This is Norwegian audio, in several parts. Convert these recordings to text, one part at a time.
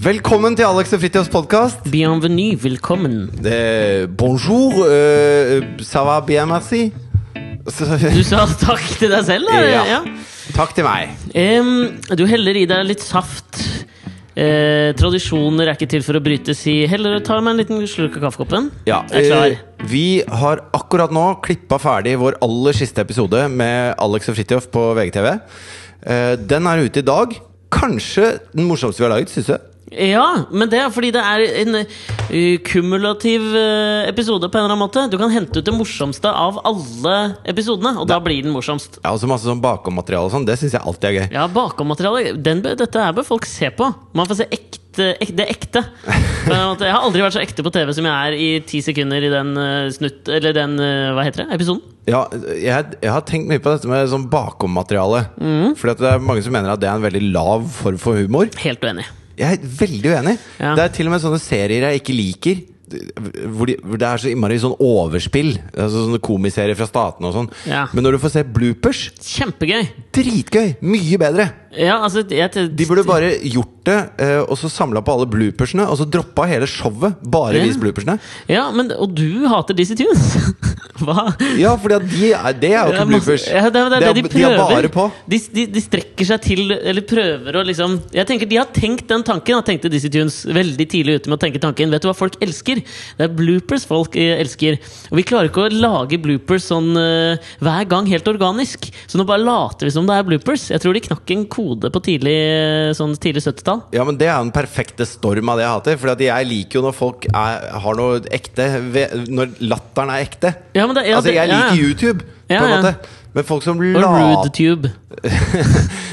Velkommen til Alex og Fritjofs podkast. Bienvenue, velkommen. Bonjour, eh, ça va bien, merci. Så- Du sa takk til deg selv, da? Ja. Takk til meg. Em, du heller i deg litt saft. Eh, tradisjoner er ikke til for å brytes i. Heller ta meg en liten slurk av kaffekoppen. Ja, Jeg er klar. eh, vi har akkurat nå klippa ferdig vår aller siste episode med Alex og Fritjof på VGTV. Eh, den er ute i dag. Kanskje den morsomste vi har laget, syns jeg. Ja, men det er fordi det er en eh, kumulativ eh, episode på en eller annen måte. Du kan hente ut det morsomste av alle episodene, og da blir den morsomst. Ja, og så masse sånn bakommateriale og sånn. Det syns jeg alltid er gøy. Ja, bakommateriale den bør- Dette her bør folk se på. Man får se ekte, ek, det ekte. På en eller annen måte. Jeg har aldri vært så ekte på TV som jeg er i ti sekunder i den eh, snutt... Eller den, eh, hva heter det? Episoden? Ja, jeg, jeg har tenkt mye på dette med sånn bakommateriale. Mm. Fordi at det er mange som mener at det er en veldig lav form for humor. Helt uenig. Jeg er veldig uenig. Ja. Det er til og med sånne serier jeg ikke liker. Hvor, de, hvor Det er så innmari sånn overspill. Det er så- sånne komiserier fra statene og sånn. Ja. Men når du får se bloopers, Kjempegøy. dritgøy! Mye bedre! Ja, altså jeg, De burde bare gjort det, eh, og så samla på alle bloopersene, og så droppa hele showet. Bare Ja. vis bloopersene. Ja, men Og du hater Dizzie Tunes! hva? Ja, for de er, det er jo Det er ikke masse- bloopers. Ja, det er, det er Det er- det de de prøver. er bare på. De, de, de strekker seg til, eller prøver å liksom Jeg tenker De har tenkt den tanken, da, tenkte Dizzie Tunes veldig tidlig ute med å tenke tanken. Vet du hva folk elsker? Det er bloopers folk eh, elsker. Og vi klarer ikke å lage bloopers sånn eh, hver gang helt organisk. Så nå bare later vi som det er bloopers. Jeg tror de knakk en kode på tidlig, eh, sånn tidlig 70-tall. Ja, men Det er jo den perfekte storm av det jeg hater. For jeg liker jo når folk er, har noe ekte ved, Når latteren er ekte. Ja, men det- ja, altså, det- jeg ja, liker ja. YouTube, Ja, på en ja. måte. Men folk som Og later Rudetube.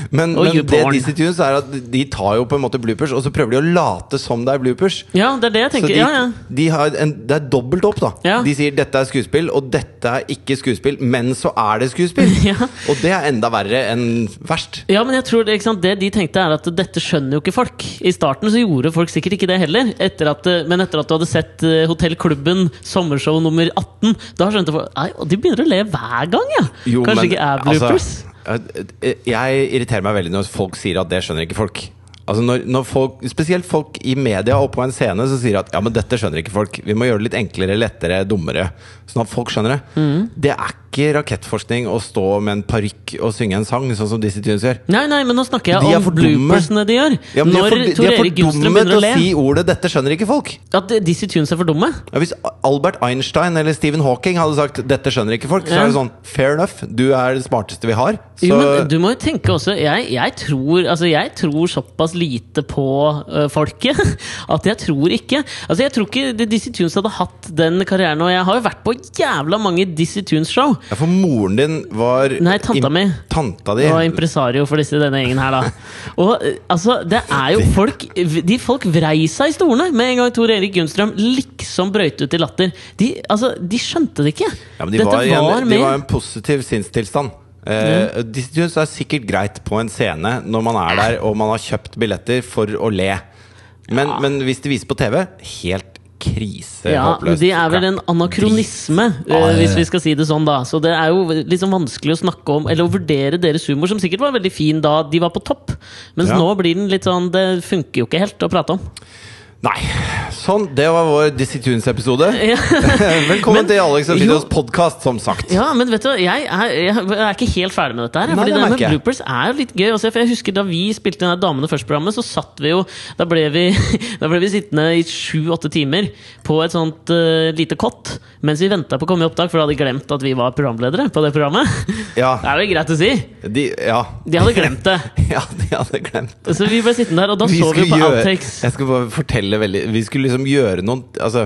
Men, Og men det YouPorn. Disney Tunes er at de tar jo på en måte bloopers, og så prøver de å late som det er bloopers. Ja, det er det jeg Så tenker. de, ja, ja. de har en, det er dobbelt opp, da. Ja. De sier 'dette er skuespill', og 'dette er ikke skuespill', men så er det skuespill. Ja. Og det er enda verre enn verst. Ja, men jeg tror det, ikke sant? det de tenkte er at dette skjønner jo ikke folk. I starten så gjorde folk sikkert ikke det heller. Etter at, eh, men etter at du hadde sett eh, Hotell Klubben, sommershow nummer 18, da skjønte folk Nei, og de begynner å le hver gang, ja! Jo, Kanskje men, ikke er bloopers. Altså, jeg irriterer meg veldig når folk sier at det skjønner ikke folk. Altså når, når folk, Spesielt folk i media og på en scene som sier at Ja, men dette skjønner ikke folk. Vi må gjøre det litt enklere, lettere, dummere. Sånn at folk skjønner det. Mm. Det er ikke rakettforskning å stå med en parykk og synge en sang, sånn som Dizzie Tunes gjør. Nei, nei, men nå snakker De jeg er om for dumme. bloopersene de gjør. Ja, men de er Når for- de er Tor for Erik Gullstrøm dumme begynner å til le. si ordet 'dette skjønner ikke folk'. At Dizzie Tunes er for dumme? Ja, hvis Albert Einstein eller Stephen Hawking hadde sagt 'dette skjønner ikke folk', så Ja. er det sånn fair enough, du er det smarteste vi har. Så Jo, men du må jo tenke også Jeg, jeg, tror, altså jeg tror såpass lite på øh, folket at jeg tror ikke Altså Jeg tror ikke det- Dizzie Tunes hadde hatt den karrieren. Og jeg har jo vært på jævla mange Dizzie Tunes-show. Ja, for moren din var Nei, tanta mi. Tanta di. Og impresario for disse, denne gjengen her, da. Og øh, altså, det er jo folk De folk vrei seg i stolene med en gang Tor Erik Gunnstrøm liksom brøyt ut i latter. De, altså, de skjønte det ikke. Ja, men de var, i en, de mer- var i en positiv sinnstilstand. Eh, De synes det er sikkert greit på en scene når man er der og man har kjøpt billetter for å le. Men, men hvis de viser på TV, helt krise Ja, håpløst. det er vel en anakronisme, Ja, eh, det- hvis vi skal si det sånn, da. Så det er jo liksom vanskelig å snakke om, eller å vurdere deres humor, som sikkert var veldig fin da de var på topp. Mens Ja. nå blir den litt sånn Det funker jo ikke helt å prate om. Nei. Sånn, det var vår Dizzie Tunes-episode. Ja. Velkommen Men- til Alex og jo. Fidos podkast, som sagt. Ja, men vet du, hva, jeg er, jeg er ikke helt ferdig med dette her. Nei, fordi det det, merker med jeg. bloopers er jo litt gøy. Også, for jeg husker Da vi spilte inn det Damene først-programmet, så satt vi jo Da ble vi, da ble vi sittende i sju-åtte timer på et sånt eh, lite kott mens vi venta på å komme i opptak, for da hadde de glemt at vi var programledere på det programmet. Ja. Det er vel greit å si? De, ja. De hadde glemt det. ja, de hadde glemt Så vi ble sittende der, og da så vi jo på gjøre, outtakes. Jeg skal bare fortelle veldig Vi skulle liksom gjøre noen Altså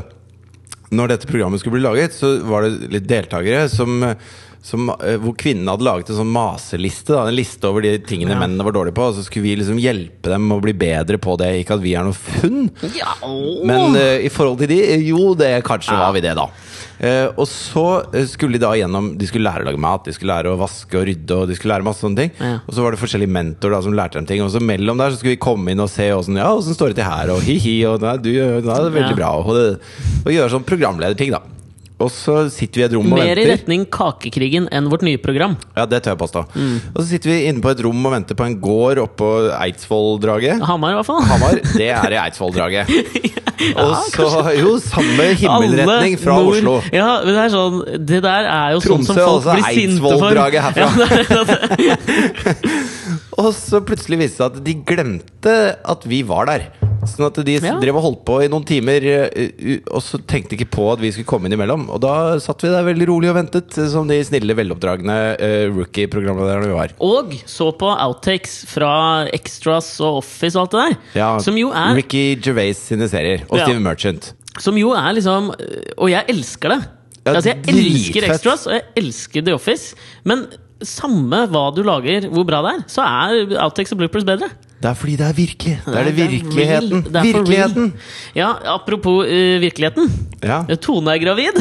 Når dette programmet skulle bli laget Så var det litt deltakere som som, eh, hvor kvinnen hadde laget en sånn maseliste da, En liste over de tingene Ja. mennene var dårlige på Og så skulle vi liksom hjelpe dem å bli bedre på det Ikke at vi er noe funn Ja, åh. Men eh, i forhold til de, eh, jo det kanskje var vi det da Eh, Og så eh, skulle de da gjennom De skulle lære å lage mat, de skulle lære å vaske og rydde Og de skulle lære masse sånne ting Ja. Og så var det forskjellige mentorer da, som lærte dem ting Og så mellom der så skulle vi komme inn og se Hvordan ja, hvordan står det til her, og hi-hi Og nei, du, gjør- nei, det er veldig Ja. bra Og, det, og gjøre sånn programlederting da Og så sitter vi i et rom og Mer i venter. retning Kakekrigen enn vårt nye program. Ja, det tør jeg påstå. Mm. Og så sitter vi inne på et rom og venter på en gård oppå Eidsvolldraget. Hamar, i hvert fall. Hamar, det er i Eidsvolldraget. Og så Jo, samme Alle himmelretning fra nord- Oslo. Ja, men det er sånn Det der er jo sånn Tromsø, som folk altså blir sinte for. Eidsvolldraget herfra. Ja, det er det, det. Og så plutselig viste det seg at de glemte at vi var der. Sånn at de Ja. drev og holdt på i noen timer, eh, u- og så tenkte de ikke på at vi skulle komme innimellom. Og da satt vi der veldig rolig og ventet, eh, som de snille, veloppdragne eh, rookie-programlederne vi var. Og så på outtakes fra Extras og Office og alt det der. Ja, Som jo er Ricky Gervais sine serier, og Ja. Steve Merchant. Som jo er liksom Og jeg elsker det. Ja, altså, jeg elsker dritfett. Extras, og jeg elsker The Office. Men samme hva du lager, hvor bra det er, så er Outtakes og Bloopers bedre. Det er fordi det er virkelig. Det er det virkeligheten. real. Det er for virkeligheten! real. Ja, apropos eh, virkeligheten. Ja, Tone er gravid.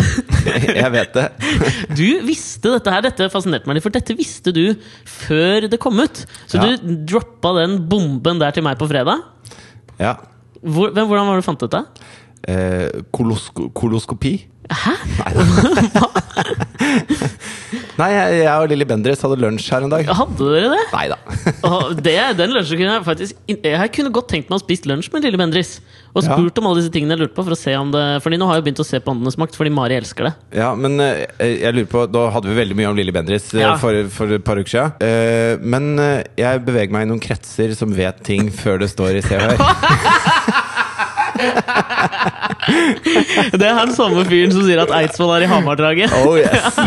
jeg vet det. Du visste dette her, dette fascinerte meg litt, for dette visste du før det kom ut. Så Ja. du droppa den bomben der til meg på fredag. Ja. Hvor, hvem, hvordan var det du fant dette? Eh, kolosko koloskopi? Hæ? Nei, jeg, jeg og Lilly Bendriss hadde lunsj her en dag. Hadde dere det? Nei da. Åh, det den lunsjen kunne jeg faktisk inn- Jeg kunne godt tenkt meg å spise lunsj med Lille Bendris. Og Ja. spurt om alle disse tingene jeg lurte på. For å se om det Fordi nå har jeg begynt å se på Åndenes makt, fordi Mari elsker det. Ja, men eh, jeg lurer på Da hadde vi veldig mye om Lilly Bendriss eh, Ja. for, for et par uker siden. Eh, men eh, jeg beveger meg i noen kretser som vet ting før det står i Se og Hør. Det er han samme fyren som sier at Eidsvoll er i Hamardraget. Oh yes!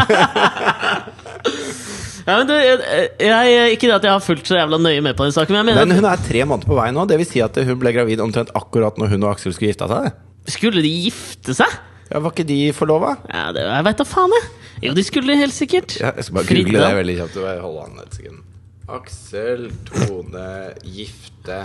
Ja, men du, jeg, jeg, ikke det at jeg har fulgt så jævla nøye med på den saken, men jeg mener Men hun er tre måneder på vei nå. Det vil si at hun ble gravid omtrent akkurat når hun og Aksel skulle gifte seg. at skulle de gifte seg? Ja, var ikke de forlova? Ja, det, jeg veit da faen, jeg. Jo, de skulle helt sikkert. Ja, jeg skal bare Fridtjof. google det veldig kjapt. Bare Hold an et sekund. Aksel, Tone, gifte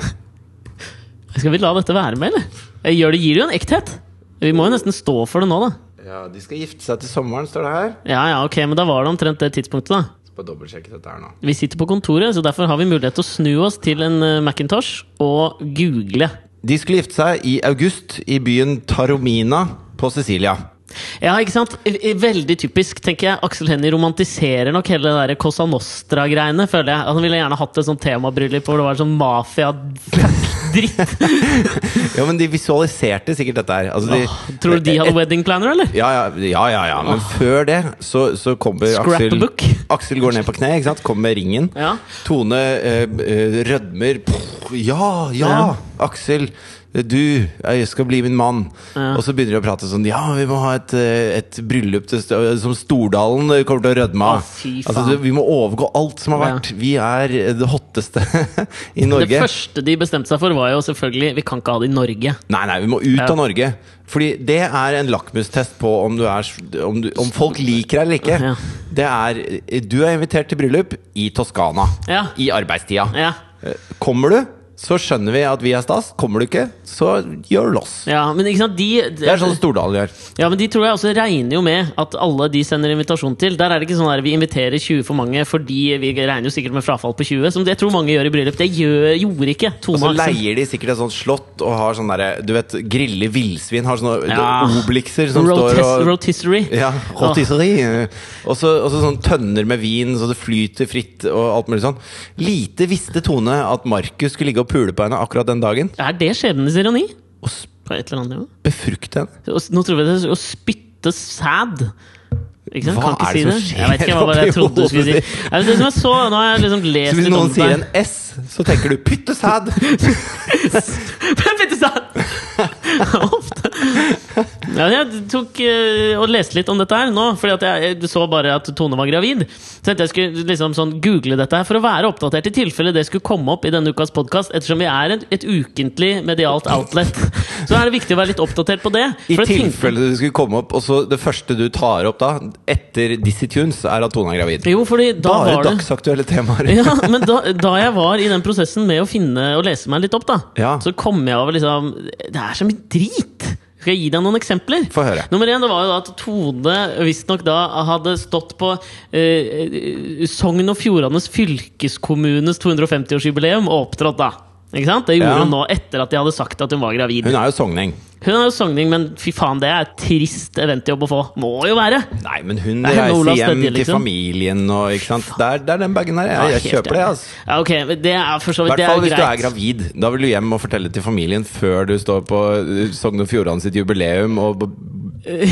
Skal vi la dette være med, eller? Jeg Gjør det, gir det jo en ekthet. Vi må jo nesten stå for det nå, da. Ja, de skal gifte seg til sommeren, står det her. Ja, ja, ok, men da var det omtrent det tidspunktet, da. Skal bare dobbeltsjekke dette her nå. Vi sitter på kontoret, så derfor har vi mulighet til å snu oss til en eh, Macintosh og google. De skulle gifte seg i august i byen Taromina på Sicilia. Ja, ikke sant? I- i- Veldig typisk, tenker jeg. Aksel Hennie romantiserer nok hele det der Cosa Nostra-greiene, føler jeg. Han ville gjerne hatt et sånt temabryllup hvor det var sånn mafia-dritt. Ja, men de visualiserte sikkert dette her. Altså, de, Tror du de hadde wedding planner, eller? ja, ja, ja, ja, ja, men før det så, så kommer Aksel Scrapbook. Aksel går ned på kne, ikke sant? kommer med ringen. Ja. Tone eh, eh, rødmer. Pff, Ja, ja, Ja. Aksel! eh, Du jeg skal bli min mann. Ja. Og så begynner de å prate sånn Ja, vi må ha et, eh, et bryllup til, st- som Stordalen eh, kommer til å rødme Å, av. fy faen. altså, det- vi må overgå alt som har Ja. vært. Vi er eh, det hotteste i Norge. Det første de bestemte seg for, var jo selvfølgelig Vi kan ikke ha det i Norge. Nei, nei, vi må ut Ja. av Norge. Fordi det er en lakmustest på om, du er, om, du, om folk liker deg eller ikke. Ja. Det er eh, Du er invitert til bryllup i Toskana. Ja. I arbeidstida. Ja, Eh, Kommer du, så skjønner vi at vi er stas. Kommer du ikke, så gjør du loss. ja men ikke sant, de Det er sånn Stordalen gjør. Ja, men de tror jeg også regner jo med at alle de sender invitasjon til. Der er det ikke sånn at vi inviterer 20 for mange fordi vi regner jo sikkert med frafall på 20, som jeg tror mange gjør i bryllup. Det gjør, gjorde ikke Og Tone så og Aksel. leier de sikkert et sånt slott og har sånn derre Du vet, grille villsvin har sånne Ja. oblikser som står Rotis og Rotisserie. Ja, rotisserie. Og så og så sånn tønner med vin så det flyter fritt og alt mulig sånn. Lite visste Tone at Markus skulle ligge og pule på henne akkurat den dagen. Er det skjebnens ironi? Og s- På et eller annet nivå. befrukte henne. Og s- Nå tror jeg det er å spytte sæd. Ikke sant? Hva Kan ikke er det som si det. skjer Jeg vet ikke hva var det jeg oppi trodde du skulle si. hodet Nei, men Det som jeg så, nå har jeg liksom Så lest hvis litt noen om sier det. en S, så tenker du 'pytte sæd'! Petter Sand! Ofte. Ja, jeg tok eh, og leste litt om dette her nå, fordi at jeg, jeg så bare at Tone var gravid. Så tenkte jeg skulle liksom sånn google dette her for å være oppdatert i tilfelle det skulle komme opp i denne ukas podkast, ettersom vi er et, et ukentlig medialt outlet. Så er det viktig å være litt oppdatert på det. I For jeg tenkte- tilfelle du skulle komme opp, og så det første du tar opp da, etter Dizzie Tunes, er at Tone er gravid. Jo, fordi da Bare var det dagsaktuelle temaer. ja, men da, da jeg var i den prosessen med å finne og lese meg litt opp, da, Ja. så kom jeg over liksom Det er så mye drit! Skal jeg gi deg noen eksempler? Få høre. Nummer én det var jo da at Tone visstnok da hadde stått på eh, Sogn og Fjordanes fylkeskommunes 250-årsjubileum og opptrådt da. Ikke sant? Det gjorde Ja. hun nå etter at de hadde sagt at hun var gravid. Hun er jo sogning. Hun er jo sogning, men fy faen, det er trist eventjobb å få. Må jo være! Nei, men hun Det er henne Ola reiser hjem Stedje, til liksom. familien og ikke sant? Det er, det er den bagen der. Jeg, jeg helt kjøper det, jævlig. altså. Ja, ok, men det er for så I vidt det hvert er fall hvis du er greit. gravid. Da vil du hjem og fortelle til familien før du står på eh, Sogn og Fjordane sitt jubileum og b-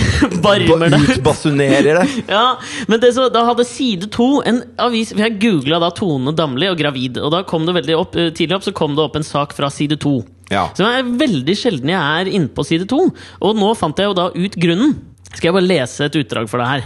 Barmer b- deg. utbasunerer det. Ja, men det så, da hadde Side 2 en avis for Jeg googla da Tone Damli og gravid, og da kom det veldig opp, eh, tidlig opp så kom det opp en sak fra Side 2. Ja. Så det er veldig sjelden jeg er inne på Side 2, og nå fant jeg jo da ut grunnen. Skal jeg bare lese et utdrag for deg her?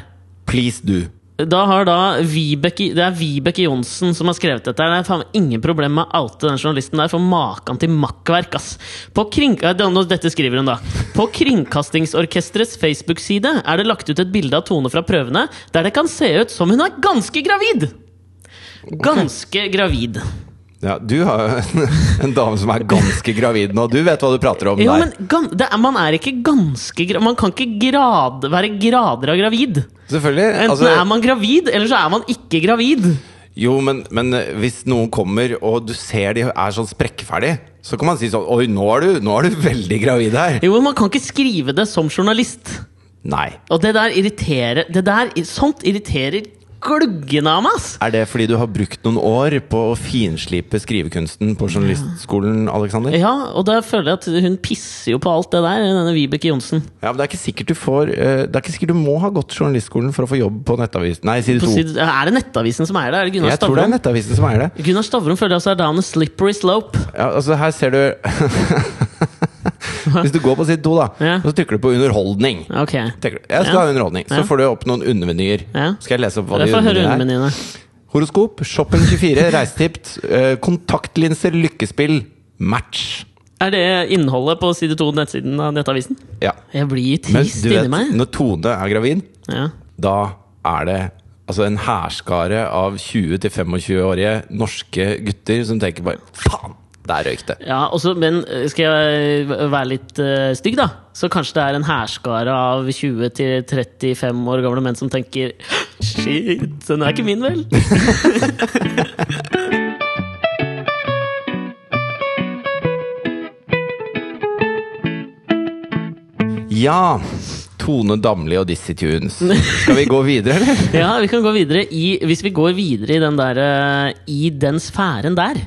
Please do. Da har da Vibeke, Det er Vibeke Johnsen som har skrevet dette. her. Det er faen meg ingen problem med å oute den journalisten der for maken til makkverk. ass på kring, eh, det- nå- Dette skriver hun, da. På Kringkastingsorkesterets Facebook-side er det lagt ut et bilde av Tone fra prøvene der det kan se ut som hun er ganske gravid! Ganske gravid. Ja, du har jo en dame som er ganske gravid nå. Du vet hva du prater om Jo, der. men gan, det er, man er ikke ganske gra- Man kan ikke grad, være grader av gravid. Selvfølgelig. Enten altså- er man gravid, eller så er man ikke gravid. Jo, men, men eh, hvis noen kommer og du ser de er sånn sprekkferdig, så kan man si sånn Oi, nå er du, nå er du veldig gravid her. Jo, men man kan ikke skrive det som journalist. Nei. Og det der irriterer det der, Sånt irriterer gluggen av meg, ass! Er det fordi du har brukt noen år på å finslipe skrivekunsten på journalistskolen, Alexander? Ja, og da føler jeg at hun pisser jo på alt det der, denne Vibeke Johnsen. Ja, men det er ikke sikkert du får eh, Det er ikke sikkert du må ha gått journalistskolen for å få jobb på Nettavisen. Nei, side På to. side, er det Nettavisen som eier det? Er det Gunnar Jeg tror det er Stavrum? Nettavisen som eier det. Gunnar Stavrum føler jeg også er down a slippery slope. Ja, altså her ser du Hvis du går på side to, da, Ja. og så trykker du på 'underholdning'. Ok. Tenker du, jeg skal Ja. ha underholdning. Så Ja. får du opp noen undermenyer. Ja. Skal jeg lese opp hva Jeg de får høre undermenyene er? undermenyene. Horoskop, Shopping24, Reisetips, eh, kontaktlinser, lykkespill, match. Er det innholdet på side 2 nettsiden av Nettavisen? Ja. Jeg blir Men trist du vet, inni meg. når Tone er gravid, Ja. da er det altså en hærskare av 20-25-årige norske gutter som tenker bare Faen, der røyk det! Ja, også, men eh, skal jeg være litt eh, stygg, da? Så kanskje det er en hærskare av 20-35 år gamle menn som tenker Shit, den er ikke min, vel? Ja! Tone Damli og Dizzie Tunes. Skal vi gå videre, eller? Ja, vi kan gå videre i Hvis vi går videre i den der eh, I den sfæren der,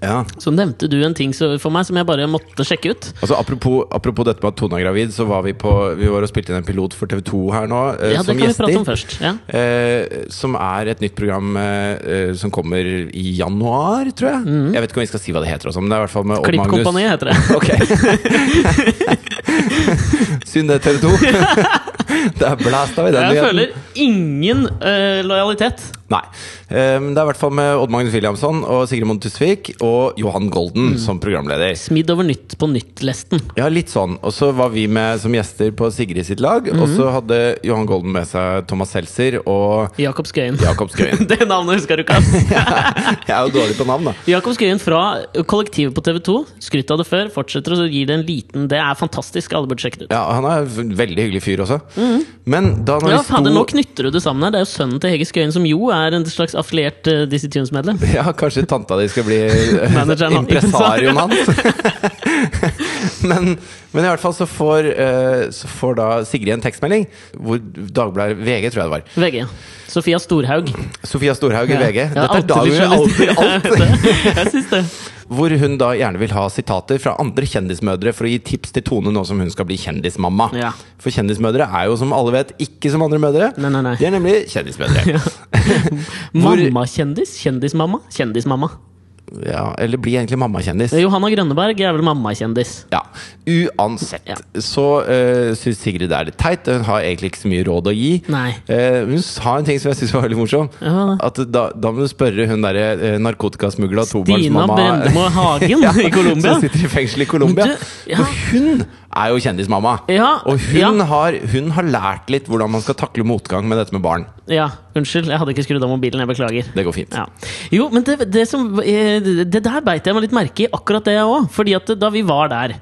Ja. så nevnte du en ting så, for meg som jeg bare måtte sjekke ut. Altså, apropos, apropos dette med at Tone er gravid, så var vi på Vi var og spilte inn en pilot for TV2 her nå, eh, Ja, det som kan vi gjester. prate om først. Ja. Eh, som er et nytt program eh, eh, som kommer i januar, tror jeg. Mhm. Jeg vet ikke om vi skal si hva det heter, også, men det er i hvert fall med Odd Eh, Magnus. Klippkompaniet heter det. Ok Synd det, TV 2. det er blæst av i den Jeg nyheten. føler ingen eh, lojalitet. Nei. Eh, men det er i hvert fall med Odd Magnus Williamson og Sigrid Monde Tusvik og Johan Golden Mm. som programleder. Smidd over nytt på nytt-lesten. Ja, litt sånn. Og så var vi med som gjester på Sigrid sitt lag, og Mhm. så hadde Johan Golden med seg Thomas Seltzer og Jakob Skøyen. Jakob Skøyen. Det navnet husker du ikke, ass! Jeg er jo dårlig på navn, da. Jakob Skøyen fra kollektivet på TV 2. Skrytt av det før, fortsetter og gir det en liten Det er fantastisk. Alle burde sjekke det ut. Ja, han er en veldig hyggelig fyr også. Men da når Mm. Ja, vi fader, Nå sto knytter du det sammen her. Det er jo sønnen til Hege Skøyen, som jo er en slags affiliert uh, Dizzie Tunes-medlem. ja, kanskje tanta di skal bli eh, Manageren hans. impresarioen hans. men, men i hvert fall så får, eh, så får da Sigrid en tekstmelding, hvor Dagbladet VG, tror jeg det var. VG. Sofia Storhaug. Sofia Storhaug i Ja. VG. Ja, Dette er alltid Dagbladet journalist. alltid, alltid. Jeg syns det. Hvor hun da gjerne vil ha sitater fra andre kjendismødre for å gi tips til Tone nå som hun skal bli kjendismamma. Ja. For kjendismødre er jo som alle vet ikke som andre mødre. Nei, nei, nei. De er nemlig kjendismødre. ja. Hvor- Mammakjendis? Kjendismamma? Kjendismamma. eller blir egentlig mammakjendis. Johanna Grønneberg er vel mammakjendis. Ja, Uansett så uh, syns Sigrid det er litt teit. Hun har egentlig ikke så mye råd å gi. Nei. Eh, hun sa en ting som jeg syns var veldig morsom. Ja, At da, da må du spørre hun derre uh, narkotikasmugla Dina tobarnsmamma Brendemo Hagen i Colombia. Som sitter i fengsel i Colombia. Men du, ja. Og hun er jo kjendismamma. Ja, og hun, ja. har, hun har lært litt hvordan man skal takle motgang med dette med barn. Ja, unnskyld. Jeg hadde ikke skrudd av mobilen. Jeg beklager. Det går fint. Ja. Jo, men det, det, som, eh, det der beit jeg meg litt merke i, akkurat det òg. Fordi at da vi var der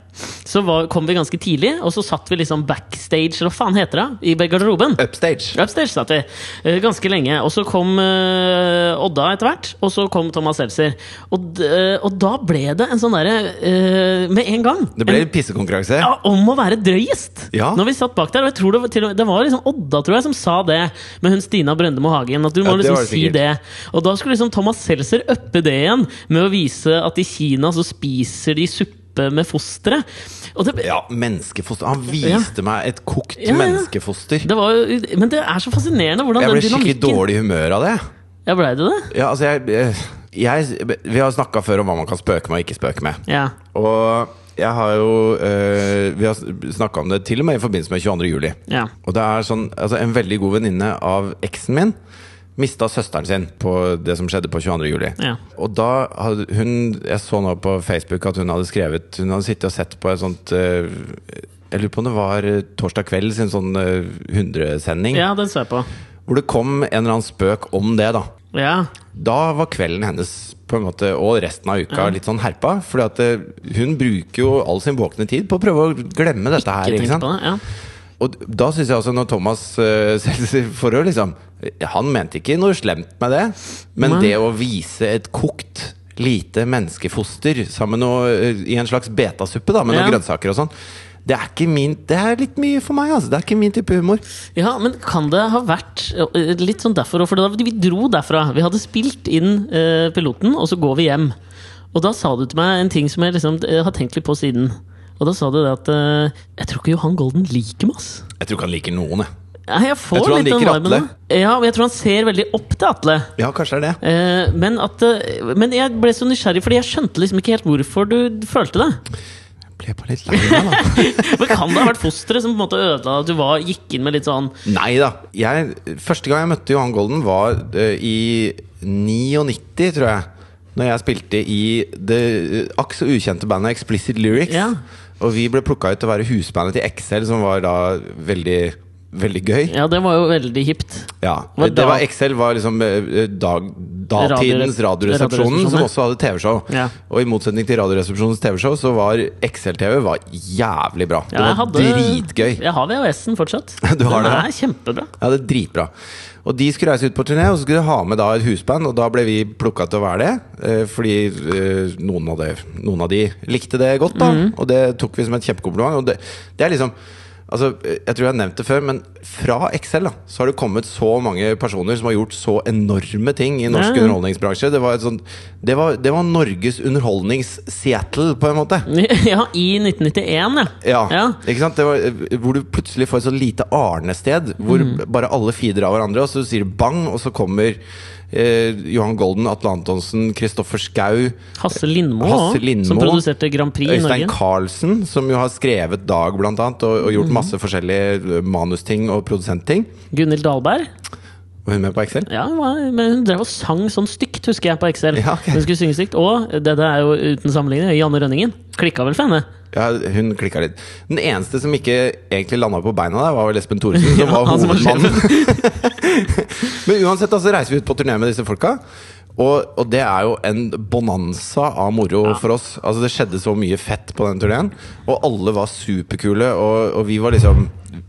så var, kom vi ganske tidlig, og så satt vi liksom backstage, eller hva faen heter det, i garderoben. Upstage. Upstairs satt vi eh, ganske lenge. Og så kom eh, Odda etter hvert, og så kom Thomas Seltzer. Og, d- eh, og da ble det en sånn derre eh, Med en gang. Det ble en, pissekonkurranse. ja, om å være drøyest! Ja. Når vi satt bak der. Og jeg tror det, var til, og med- det var liksom Odda tror jeg, som sa det, med hun Stina Brøndemo Hagen. At du Ja, må det liksom var det si sikkert. det. Og da skulle liksom Thomas Seltzer uppe det igjen med å vise at i Kina så spiser de suppe med fostre. Og det, Ja, menneskefoster. Han viste meg et kokt Ja, ja. menneskefoster. det var jo, men det er så fascinerende hvordan Jeg den ble skikkelig Altså, dynamikken dårlig i humør av det. Ja, ble det det? Ja, altså jeg, jeg Vi har snakka før om hva man kan spøke med og ikke spøke med. Ja. Og jeg har jo eh, Vi har snakka om det til og med i forbindelse med 22. juli. ja. Og det er sånn, altså En veldig god venninne av eksen min mista søsteren sin på det som skjedde på 22. juli. Ja. Og da hadde hun Jeg så nå på Facebook at hun hadde skrevet Hun hadde sittet og sett på et sånt eh, Jeg lurer på om det var eh, torsdag kveld sin sånn eh, 100-sending, Ja, den så jeg på. hvor det kom en eller annen spøk om det. da Ja, da var kvelden hennes på en måte, og resten av uka litt sånn herpa. Fordi at eh, hun bruker jo all sin våkne tid på å prøve å glemme dette her. ikke Ikke tenkt sant? på det. Ja. Og d- da syns jeg også, når Thomas uh, Seltzer får høre, liksom Han mente ikke noe slemt med det, men Nei. det å vise et kokt lite menneskefoster sammen med noe, eh, i en slags betasuppe da, med noen Ja. grønnsaker og sånn, det er ikke min Det er litt mye for meg, altså. Det er ikke min type humor. ja, men kan det ha vært eh, litt sånn derfor òg? For da, vi dro derfra. Vi hadde spilt inn eh, piloten, og så går vi hjem. Og da sa du til meg en ting som jeg liksom eh, har tenkt litt på siden. Og da sa du det at eh, Jeg tror ikke Johan Golden liker meg, ass. Jeg tror ikke han liker noen, jeg. Nei, jeg, får Jeg tror han litt den liker viben Atle. da. Ja, men jeg tror han ser veldig opp til Atle. Ja, kanskje det er det. Eh, men, at, eh, men jeg ble så nysgjerrig, fordi jeg skjønte liksom ikke helt hvorfor du følte det. Jeg ble bare litt lei meg, da. Men kan det ha vært fosteret som på en måte ødela at du var, gikk inn med litt sånn Nei da. Jeg, første gang jeg møtte Johan Golden, var eh, i 99, tror jeg. Når jeg spilte i det eh, akk så ukjente bandet Explicit Lyrics. Ja. Og vi ble plukka ut til å være husbandet til XL, som var da veldig, veldig gøy. Ja, det var jo veldig hipt. Ja. Var Det var da- XL var liksom eh, dag, datidens Radioresepsjonen, Radio- Radioresepsjonen, ja. som også hadde TV-show. Ja. Og i motsetning til Radioresepsjonens TV-show, så var XL-TV var jævlig bra. Ja, jeg det var hadde- dritgøy. Jeg har VHS-en fortsatt. Du har Den det, er kjempebra. Ja, det er dritbra. Og de skulle reise ut på turné, og så skulle de ha med da et husband, og da ble vi plukka til å være det. eh, Fordi eh, noen av, det, noen av de likte det godt, da. Og det tok vi som et kjempekompliment. Og det, det er liksom Altså, eh, jeg tror jeg har nevnt det før, men fra Excel da, så har det kommet så mange personer som har gjort så enorme ting i norsk Ja. underholdningsbransje. Det var, et sånt, det, var, det var Norges underholdnings-Seattle, på en måte. Ja, i 1991, ja. Ja, ja. ikke sant? Det var, eh, hvor du plutselig får et sånn lite arnested Hvor Mm. bare alle feeder av hverandre Og så sier du bang, og så kommer eh, Johan Golden, Atle Antonsen, Kristoffer Skau Hasse Lindmo, Hasse også, Lindmo, som produserte Grand Prix i Øystein Norge. Carlsen, som jo har skrevet Dag blant annet Og, og gjort Mm. masse forskjellige eh, manusting og produsentting Gunhild Dahlberg. Var hun med på Excel? Ja, hun var- men hun drev og sang sånn stygt, husker jeg, på Excel. Ja, ok. Hun skulle synge stygt. Og dette er jo uten sammenligning Janne Rønningen. Klikka vel for henne? Ja, hun klikket litt Den eneste som ikke egentlig landet på beina der Var vel Espen Thoresen, som var han som var hovedmannen Men uansett, da, så reiser vi ut på turné med disse folka. Og, og det er jo en bonanza av moro for oss. Altså Det skjedde så mye fett på den turneen. Og alle var superkule, og, og vi var liksom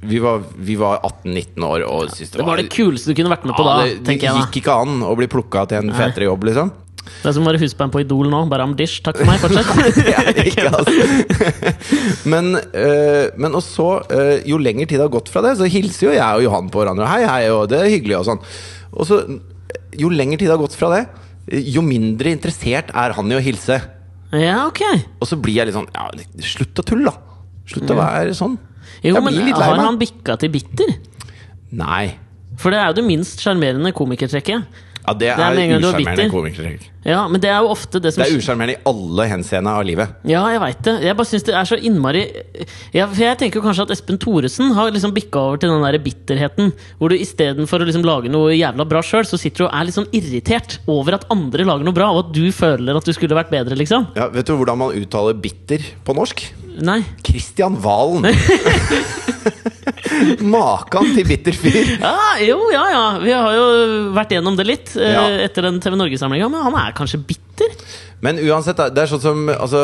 Vi var, vi var 18-19 år og syntes det, Det var det kuleste du kunne vært med på ja, da, det, det tenker jeg da. gikk ikke an å bli plukka til en fetere jobb, liksom. Det er som å være husband på Idol nå. Bare Amdish, takk for meg. Fortsett. Ja, ikke, altså. men, øh, men og så, øh, jo lenger tid har gått fra det, så hilser jo jeg og Johan på hverandre. Hei, hei, og det er hyggelig og sånn. Og så, jo lenger tid har gått fra det, jo mindre interessert er han i å hilse. Ja, ok. Og så blir jeg litt sånn ja, Slutt å tulle, da! Slutt å være sånn. Jo, jeg men blir litt lei har han meg. bikka til bitter? Nei. For det er jo det minst sjarmerende komikertrekket. Ja, det med er, en gang du er usjarmerende bitter. komikertrekk. Ja, men det er jo ofte det som Det er usjarmerende i alle henseende av livet. Ja, jeg veit det. Jeg bare syns det er så innmari ja, For jeg tenker jo kanskje at Espen Thoresen har liksom bikka over til den der bitterheten. Hvor du istedenfor å liksom lage noe jævla bra sjøl, så sitter du og er litt sånn irritert over at andre lager noe bra, og at du føler at du skulle vært bedre, liksom. Ja, vet du hvordan man uttaler 'bitter' på norsk? Nei. Kristian Valen. Makan til bitter fyr. Ja, jo, ja, ja. Vi har jo vært gjennom det litt eh, Ja. etter den TV Norge-samlinga, men han er kanskje bitter? Men uansett, da, det er sånn som altså,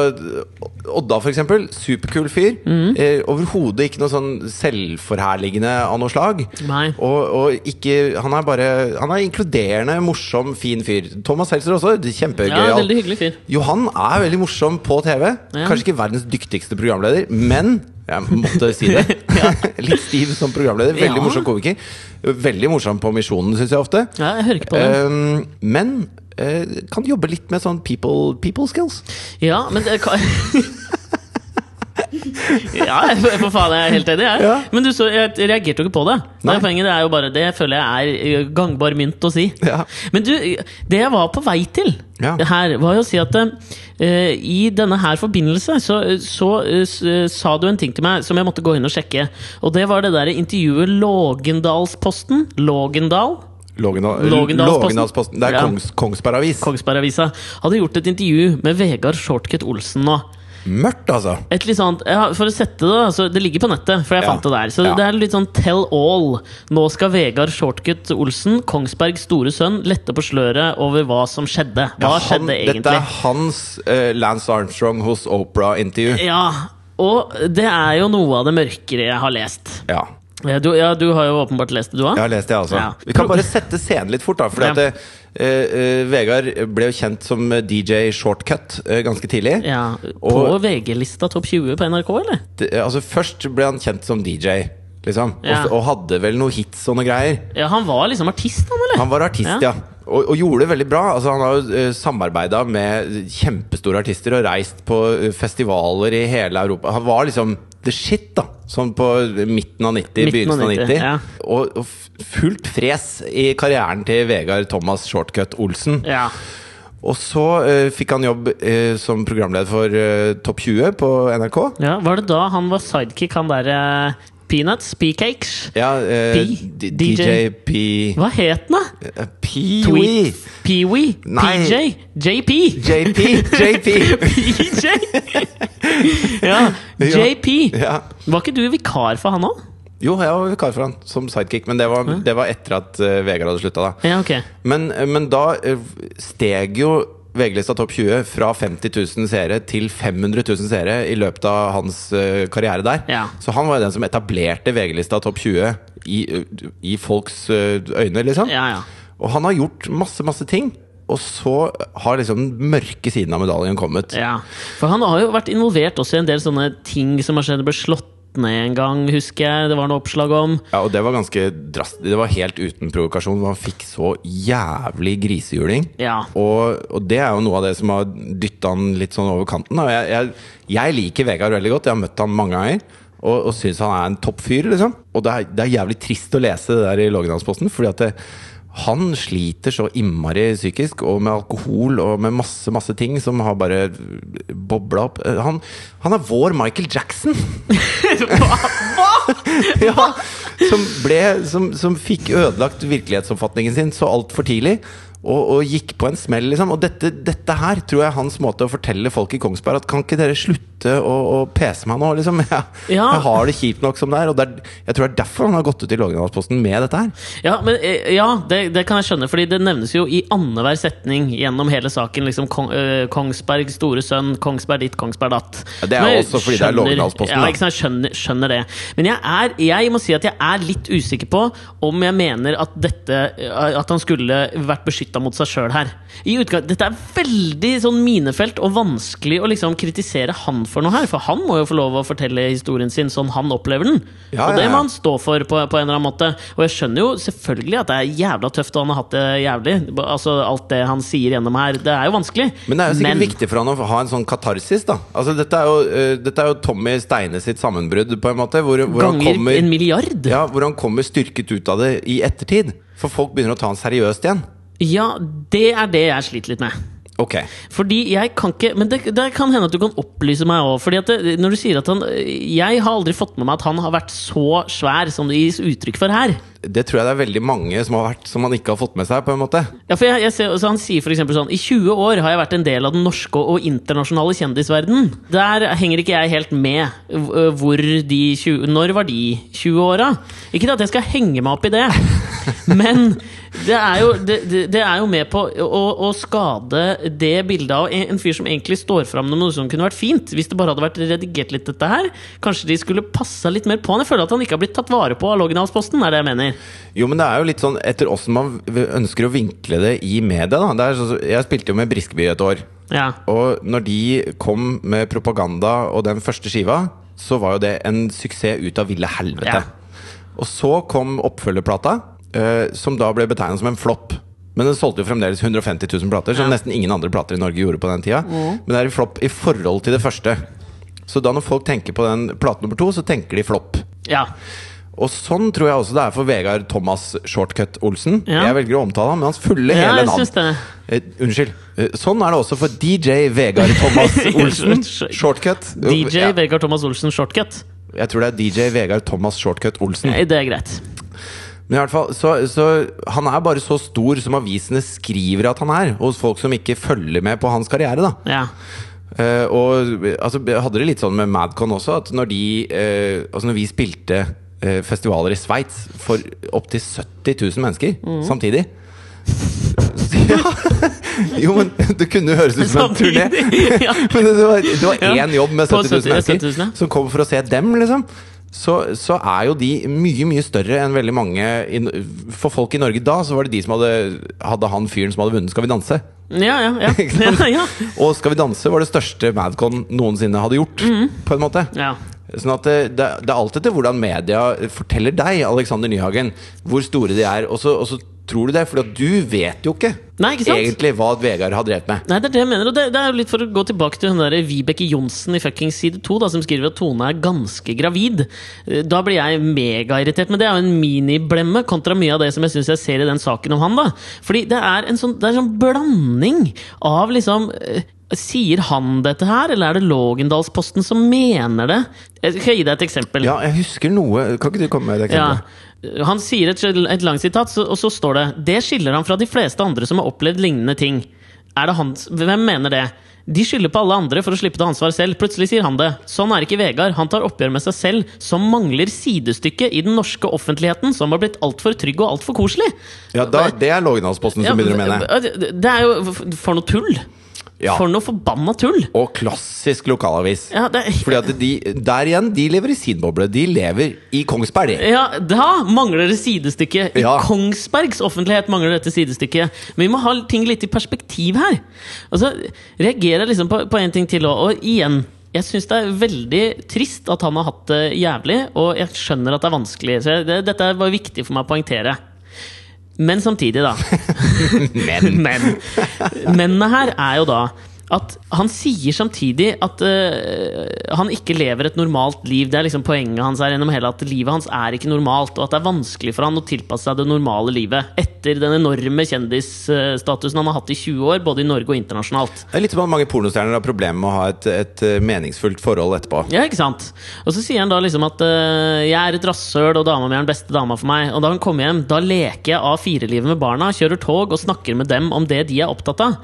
Odda, for eksempel. Superkul fyr. Mhm. Eh, Overhodet ikke noe sånn selvforherligende av noe slag. Nei. Og, og ikke Han er bare Han er inkluderende, morsom, fin fyr. Thomas Seltzer også. Kjempegøyal. Ja, veldig hyggelig fyr. Johan er veldig morsom på TV. Ja. Kanskje ikke verdens dyktigste programleder, men jeg måtte si det. Litt stiv som programleder. Veldig Ja. morsom komiker. Veldig morsom på Misjonen, syns jeg ofte. Ja, jeg hører ikke på det. Um, men eh, kan jobbe litt med sånn people, people skills. Ja, men eh, det kan Ja, jeg- for faen, jeg er helt enig. Jeg. Ja. Men du så, jeg reagerte jo ikke på det. Det Nei. er poenget det er jo bare Det føler jeg er eh, gangbar mynt å si. Ja. Men du, det jeg var på vei til Ja. her, var jo å si at eh, i denne her forbindelse så, så eh, s- eh, sa du en ting til meg som jeg måtte gå inn og sjekke. Og det var det derre intervjuet Lågendalsposten. Lågendal. Lågendal- Lågendalsposten. Lågendalsposten. Det er Ja. Kongs, Kongsberg-avis. Kongsberg-avisa hadde gjort et intervju med Vegard Shortcut Olsen nå. Mørkt, altså. Et litt sånt, ja, for å sette det, da, så det ligger på nettet, for jeg Ja. fant det der. Så Ja. det er litt sånn tell all. Nå skal Vegard Shortcut Olsen, Kongsbergs store sønn, lette på sløret over hva som skjedde. Hva Ja, han- skjedde Dette egentlig? er hans eh, Lance Armstrong hos Opera-intervju. Ja, og det er jo noe av det mørkere jeg har lest. Ja. Eh, Du, ja, du har jo åpenbart lest det, du Jeg òg? har lest det, altså. Ja. Vi kan bare sette scenen litt fort, da. Fordi Ja. at eh, eh, Vegard ble jo kjent som DJ Shortcut eh, ganske tidlig. Ja. På Og- VG-lista topp 20 på NRK, eller? Det- altså Først ble han kjent som DJ, liksom. Ja. Og, og hadde vel noen hits og noen greier. Ja, Han var liksom artist, han, eller? Han var artist, ja. Ja. Og, og gjorde det veldig bra. Altså, han har jo uh, samarbeida med kjempestore artister og reist på eh, festivaler i hele Europa. Han var liksom the shit, da. Sånn på midten av 90, Midten av begynnelsen av 90. 90, ja. Og, og f- fullt fres i karrieren til Vegard Thomas Shortcut Olsen. Ja. Og så eh, fikk han jobb eh, som programleder for eh, Topp 20 på NRK. ja. Var det da han var sidekick, han derre Peanuts? Peacakes? Ja, eh, P- D- DJ. DJ P... Hva het den, da? Eh, Pee-wee! Tweet. Pee-wee. Nei. PJ. JP. JP! JP! PJ. ja. JP. Ja. Var ikke du vikar for han òg? Jo, jeg var vikar for han som sidekick, men det var, det var etter at eh, Vegard hadde slutta. da. Ja, ok. Men, men da eh, steg jo VG-lista Topp 20 fra 50 000 seere til 500 000 seere i løpet av hans eh, karriere der. Ja. Så han var jo den som etablerte VG-lista Topp 20 i, i folks eh, øyne, liksom. Ja, ja. Og han har gjort masse, masse ting. Og så har liksom den mørke siden av medaljen kommet. ja. For han har jo vært involvert også i en del sånne ting som har skjedd. Det ble slått ned en gang, husker jeg. Det var noe oppslag om. Ja, og det var ganske drastisk. Det var helt uten provokasjon. Man fikk så jævlig grisehjuling. Ja. Og, og det er jo noe av det som har dytta han litt sånn over kanten. da. Og jeg, jeg, jeg liker Vegard veldig godt. Jeg har møtt han mange ganger. Og, og syns han er en toppfyr, liksom. Og det er, det er jævlig trist å lese det der i Lågendalsposten, fordi at det, han sliter så innmari psykisk, og med alkohol og med masse masse ting som har bare bobla opp. Eh, Han, han er vår Michael Jackson! ja, som, ble, som, som fikk ødelagt virkelighetsoppfatningen sin så altfor tidlig. Og, og gikk på en smell, liksom. Og dette, dette her tror jeg er hans måte å fortelle folk i Kongsberg at kan ikke dere slutte å, å pese meg nå, liksom. Jeg, Ja. jeg har det kjipt nok som det er. Og det er, jeg tror det er derfor han har gått ut i Lågendalsposten med dette her. Ja, men, eh, ja det, det kan jeg skjønne, Fordi det nevnes jo i annenhver setning gjennom hele saken. Liksom Kong, eh, Kongsberg, store sønn, Kongsberg ditt, Kongsberg datt. Ja, det er Men jeg også fordi det er skjønner- Lågendalsposten, Ja, da. ikke sant, jeg skjønner, skjønner det. Men jeg, er, jeg må si at jeg er litt usikker på om jeg mener at, dette, eh, at han skulle vært beskytta mot seg sjøl her. I utgang, dette er veldig sånn minefelt og vanskelig å liksom kritisere han for noe her. For han må jo få lov å fortelle historien sin sånn han opplever den. Ja, og det ja, ja. må han stå for på, på en eller annen måte. Og jeg skjønner jo selvfølgelig at det er jævla tøft, og han har hatt det jævlig. Altså Alt det han sier gjennom her, det er jo vanskelig. Men det er jo sikkert viktig for han å ha en sånn katarsis, da. Altså, dette, er jo, eh, dette er jo Tommy Steine sitt sammenbrudd, på en måte. Hvor, hvor han ganger kommer en milliard. Ja, hvor han kommer styrket ut av det i ettertid. For folk begynner å ta han seriøst igjen. Ja, det er det jeg sliter litt med. Ok. Fordi jeg kan ikke Men det, det kan hende at du kan opplyse meg òg. Fordi at det, når du sier at han Jeg har aldri fått med meg at han har vært så svær som det gis uttrykk for her. Det tror jeg det er veldig mange som har vært Som man ikke har fått med seg, på en måte. Ja, for jeg, jeg ser, altså han sier for eksempel sånn I 20 år har jeg vært en del av den norske og internasjonale kjendisverden Der henger ikke jeg helt med øh, hvor de 20, Når var de 20 åra? Ikke at jeg skal henge meg opp i det Men det er jo, det, det, det er jo med på å, å skade det bildet av en, en fyr som egentlig står fram med noe som kunne vært fint. Hvis det bare hadde vært redigert litt, dette her. Kanskje de skulle passa litt mer på han. Jeg føler at han ikke har blitt tatt vare på av Lågendalsposten, er det jeg mener. Jo, men det er jo litt sånn etter åssen man v- ønsker å vinkle det i media, da. Det er sånn som- jeg spilte jo med Briskeby et år. Ja. Og når de kom med propaganda og den første skiva, så var jo det en suksess ut av ville helvete. Ja. Og så kom oppfølgerplata, eh, som da ble betegnet som en flopp. Men den solgte jo fremdeles 150 000 plater, som Ja. nesten ingen andre plater i Norge gjorde på den tida. Men det er en flopp i forhold til det første. Så da når folk tenker på den plate nummer to, så tenker de flopp. Ja. Og sånn tror jeg også det er for Vegard Thomas Shortcut Olsen. Ja. Jeg velger å omtale ham med hans fulle Ja, hele jeg navn. syns det. Eh, unnskyld. Eh, sånn er det også for DJ Vegard Thomas Olsen. Shortcut. DJ Ja, Vegard Thomas Olsen shortcut. jeg tror det er DJ Vegard Thomas Shortcut Olsen. Nei, det er greit. Men i hvert fall, så, så Han er bare så stor som avisene skriver at han er, hos folk som ikke følger med på hans karriere. da Ja. Eh, og altså, jeg hadde det litt sånn med Madcon også, at når, de, eh, altså når vi spilte eh, festivaler i Sveits for opptil 70 000 mennesker samtidig ja. Jo, men det kunne jo høres ut som en turné. Samtidig, ja. Men det var, det var Ja. én jobb med På 70 000 70 000, mennesker ja. som kom for å se dem, liksom. Så, så er jo de mye mye større enn veldig mange i, For folk i Norge da, så var det de som hadde Hadde han fyren som hadde vunnet Skal vi danse. Ja, ja, ja. Ikke sant? ja, ja. Og Skal vi danse var det største Madcon noensinne hadde gjort. På en måte Mhm. ja. Sånn at det, det, det er alt etter hvordan media forteller deg, Alexander Nyhagen, hvor store de er. Og så, og så tror du det, for du vet jo ikke, Nei, ikke sant? egentlig hva Vegard har drevet med. Nei, det er det jeg mener. Og det, det er jo litt for å gå tilbake til hun der Vibeke Johnsen i fuckings side 2, da, som skriver at Tone er ganske gravid. Eh, Da blir jeg megairritert. Men det er jo en miniblemme kontra mye av det som jeg syns jeg ser i den saken om han. da Fordi det er en sånn, det er en sånn blanding av liksom eh, Sier han dette her, eller er det Lågendalsposten som mener det? Jeg skal gi deg et eksempel. Ja, jeg husker noe Kan ikke du komme med et eksempel? Ja. Han sier et, et langt sitat, så, og så står det Det skiller han fra de fleste andre som har opplevd lignende ting. Er det hans, hvem mener det? De skylder på alle andre for å slippe det ansvaret selv. Plutselig sier han det. Sånn er ikke Vegard. Han tar oppgjør med seg selv, som mangler sidestykke i den norske offentligheten, som har blitt altfor trygg og altfor koselig. Ja, da, Det er Lågendalsposten som begynner å mene. det det er jo for- for noe tull! Ja. For noe forbanna tull! Og klassisk lokalavis. Ja, det, Fordi at de, Der igjen, de lever i sin boble. De lever i Kongsberg. de. Ja, da mangler det sidestykke. I Ja. Kongsbergs offentlighet mangler dette sidestykket. Men vi må ha ting litt i perspektiv her. Og så reagerer jeg liksom på, på en ting til òg. Og igjen, jeg syns det er veldig trist at han har hatt det jævlig, og jeg skjønner at det er vanskelig. Så jeg, det, dette var viktig for meg å poengtere. Men samtidig, da. Men Men mennene her er jo da at han sier samtidig at øh, han ikke lever et normalt liv. Det er liksom poenget hans her gjennom hele at livet hans er ikke normalt, og at det er vanskelig for han å tilpasse seg det normale livet etter den enorme kjendisstatusen han har hatt i 20 år, både i Norge og internasjonalt. det er litt som at mange pornostjerner har problemer med å ha et, et eh, meningsfullt forhold etterpå. Ja, ikke sant? Og så sier han da liksom at øh, 'jeg er et rasshøl, og dama mi er den beste dama for meg'. Og da han kommer hjem, da leker jeg A4-livet med barna, kjører tog og snakker med dem om det de er opptatt av.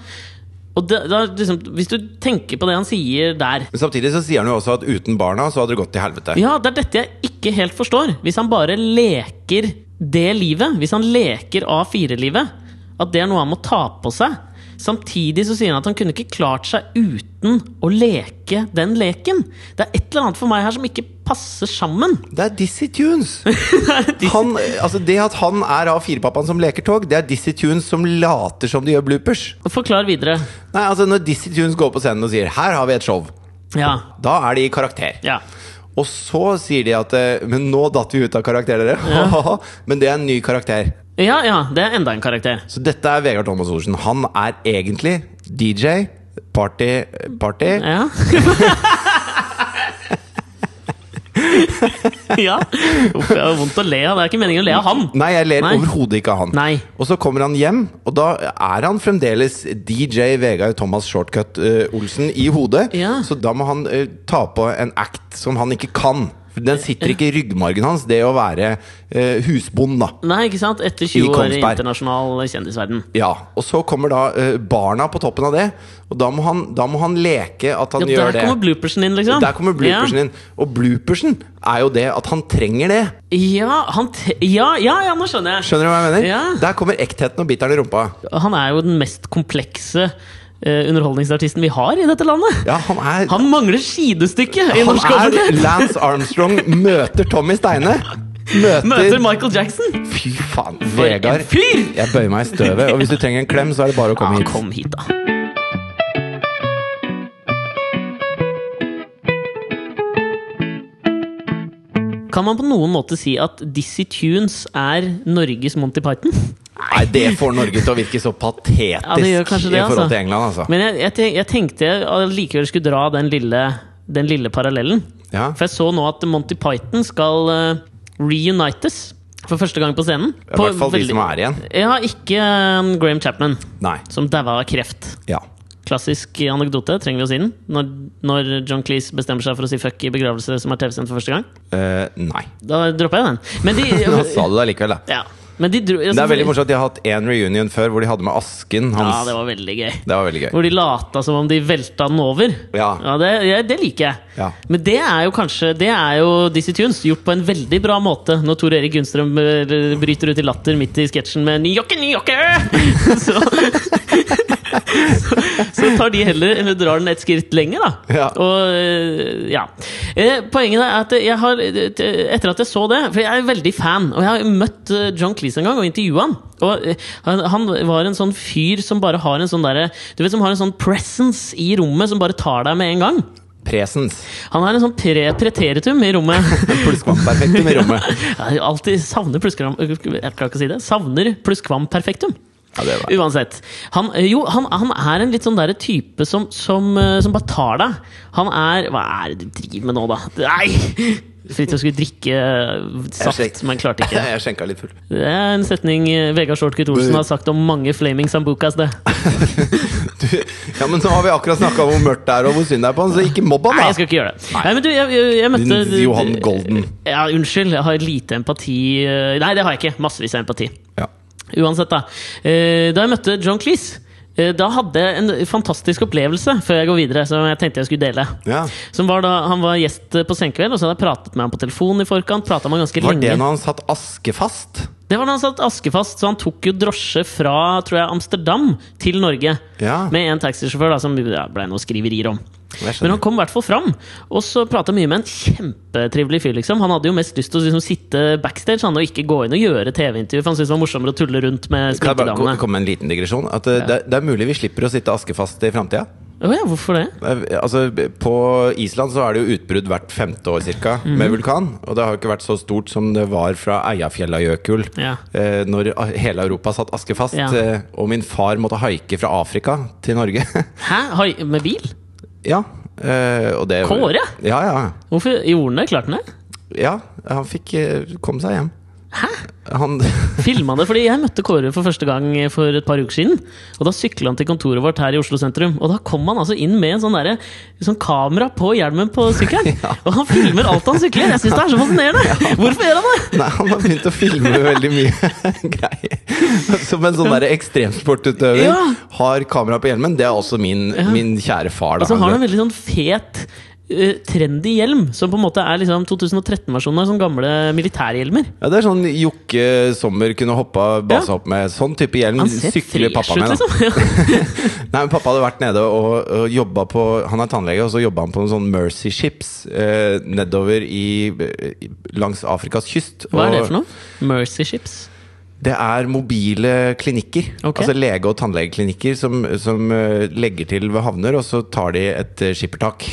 Og da, da, liksom, Hvis du tenker på det han sier der Men samtidig så sier han jo også at uten barna så hadde det gått til helvete. Ja, det er dette jeg ikke helt forstår. Hvis han bare leker det livet, hvis han leker A4-livet, at det er noe han må ta på seg. Samtidig så sier han at han kunne ikke klart seg uten å leke den leken. Det er et eller annet for meg her som ikke passer sammen. Det er Dizzie Tunes! Han, altså det at han er A4-pappaen som leker tog, det er Dizzie Tunes som later som de gjør bloopers. Forklar videre. Nei, altså Når Dizzie Tunes går på scenen og sier 'her har vi et show', Ja. da er de i karakter. ja. Og så sier de at eh, 'men nå datt vi ut av karakter, dere'. men det er en ny karakter. Ja, ja, det er enda en karakter. Så dette er Vegard Thomas Olsen. Han er egentlig DJ, party, party Ja. ja. Uff, jeg har vondt å le av. Det er ikke meningen å le av han. Nei, jeg ler Nei. overhodet ikke av han. Nei. Og så kommer han hjem, og da er han fremdeles DJ Vegard Thomas Shortcut eh, Olsen i hodet. Ja. Så da må han eh, ta på en act som han ikke kan. For Den sitter ikke i ryggmargen hans, det å være eh, husbond, da. Nei, ikke sant? Etter 20 år i Kongsberg. internasjonal kjendisverden. Ja, Og så kommer da eh, barna på toppen av det, og da må han, da må han leke at han Ja, gjør der det. kommer bloopersen inn, liksom. Der kommer bloopersen ja. inn. Og bloopersen er jo det at han trenger det. Ja, han te ja, ja, ja, nå skjønner jeg. Skjønner du hva jeg mener? Ja. Der kommer ektheten og biteren i rumpa. Han er jo den mest komplekse eh, underholdningsartisten vi har i dette landet. Ja, han er Han mangler sidestykke i norsk han er offentlighet! Lance Armstrong møter Tommy Steine. Møter, Møter Michael Jackson! Fy faen, For en Vegard. fyr! Jeg bøyer meg i støvet. Og hvis du trenger en klem, så er det bare å komme Ja, hit. kom hit, da. Kan man på noen måte si at Dizzie Tunes er Norges Monty Python? Nei, det får Norge til å virke så patetisk Ja, det gjør kanskje det, i forhold altså. til England, altså. Men jeg, jeg, tenk, jeg tenkte jeg allikevel skulle dra den lille, den lille parallellen. Ja. For jeg så nå at Monty Python skal eh, reunites for første gang på scenen. I hvert fall de som er igjen. Ja, ikke eh, Graham Chapman, Nei. som daua av kreft. Ja. Klassisk anekdote, trenger vi å si den? Når, når John Cleese bestemmer seg for å si fuck i begravelse som er TV-sendt for første gang. Eh, nei. Da dropper jeg den. Men de, Nå sa du det allikevel, da. ja, men de dro, Det er veldig morsomt at de har hatt én reunion før hvor de hadde med Asken Ja, hans. det var veldig gøy. det var veldig gøy. Hvor de lata som om de velta den over. Ja. det, ja, det liker jeg. Ja. Men det er jo kanskje Det er jo Dizzie Tunes gjort på en veldig bra måte når Tor Erik Gunnstrøm eh, bryter ut i latter midt i sketsjen med 'Njokke, njokke!' Så, så, så tar de heller eller drar den et skritt lenger, da. Ja. Og eh, ja. Eh, Poenget er at jeg har Etter at jeg så det For jeg er veldig fan, og jeg har møtt eh, John Cleese en gang og intervjua han. Og eh, han, han var en sånn fyr som bare har en sånn derre Du vet som har en sånn presence i rommet som bare tar deg med en gang. Presens. Han har en sånn pre preteritum i rommet. Plusskvamperfektum i rommet. Jeg alltid savner plusskram... Jeg klarer ikke å si det. Savner plusskvam perfektum. Ja, det var. Uansett. Han, eh, jo, han, han er en litt sånn derre type som, som, eh, som bare tar deg. Han er Hva er det du driver med nå, da? Nei! Fritjof skulle drikke eh, saft, men klarte ikke. Jeg skjenka litt full. Det er en setning eh, Vegard Shortcut Olsen har sagt om mange flaming sambucas. Det. Du, ja, men nå har vi akkurat snakka om hvor mørkt det er, og hvor synd det er på han, så ikke mobb Nei, han, jeg da! skal ikke gjøre det. Nei, men du, jeg, jeg, jeg møtte Din Johan Golden. Ja, unnskyld. Jeg har lite empati eh, Nei, det har jeg ikke. Massevis av empati. Ja. Uansett, da. Eh, Da jeg møtte John Cleese, eh, da hadde jeg en fantastisk opplevelse før jeg går videre, som jeg tenkte jeg skulle dele. Ja. Som var da, Han var gjest eh, på Senkveld, og så hadde jeg pratet med ham på telefon i forkant. pratet med han ganske Var det lenge. når han satt askefast? Det var da han satt askefast, så han tok jo drosje fra tror jeg, Amsterdam til Norge. Ja. Med en taxisjåfør da, som det ble noe skriverier om. Jeg Men skjønner. han kom i hvert fall fram, og så prata mye med en kjempetrivelig fyr. liksom Han hadde jo mest lyst til å liksom, sitte backstage han, og ikke gå inn og gjøre TV-intervju. For han syntes det var morsommere å tulle rundt Kan jeg med bare ko- sminkedamene. komme med en liten digresjon? At eh, det, det er mulig vi slipper å sitte askefast i framtida. Å ja, hvorfor det? Altså, på Island så er det jo utbrudd hvert femte år cirka, Mhm. med vulkan. Og det har jo ikke vært så stort som det var fra Eiafjellajøkul. Ja. Eh, når a- hele Europa satt askefast. Ja. Eh, og min far måtte haike fra Afrika til Norge. Hæ? Hai- Med bil? ja. Eh, og det Kåre? Ja, ja. Hvorfor gjorde han det? Klarte han det? Ja, han fikk eh, komme seg hjem. Hæ? Han, Filma det, fordi jeg møtte Kåre for første gang for et par uker siden. Og Da sykla han til kontoret vårt her i Oslo sentrum. Og da kom han altså inn med en sånn, derre- sånn kamera på hjelmen på sykkelen! Og han filmer alt han sykler! Jeg syns det er så fascinerende! Hvorfor gjør han det? nei, han har begynt å filme veldig mye greier. Som en sånn derre ekstremsportutøver. Ja. Har kamera på hjelmen. Det er også min, min kjære far. Da. Og så har han en veldig sånn fet eh, trendy hjelm, som på en måte er liksom 2013-versjonen av sånne gamle militærhjelmer. ja, det er sånn Jokke Sommer kunne hoppa base Ja. opp med. Sånn type hjelm Han ser sykler fresh pappa ut, med. Da. liksom! Nei, men Pappa hadde vært nede og, og jobba på Han er tannlege, og så jobba han på noen sånn Mercy Ships eh, nedover i, langs Afrikas kyst. Hva er det Og- for noe? Mercy Ships? Det er mobile klinikker. Ok. Altså lege- og tannlegeklinikker som, som eh, legger til ved havner, og så tar de et eh, skippertak.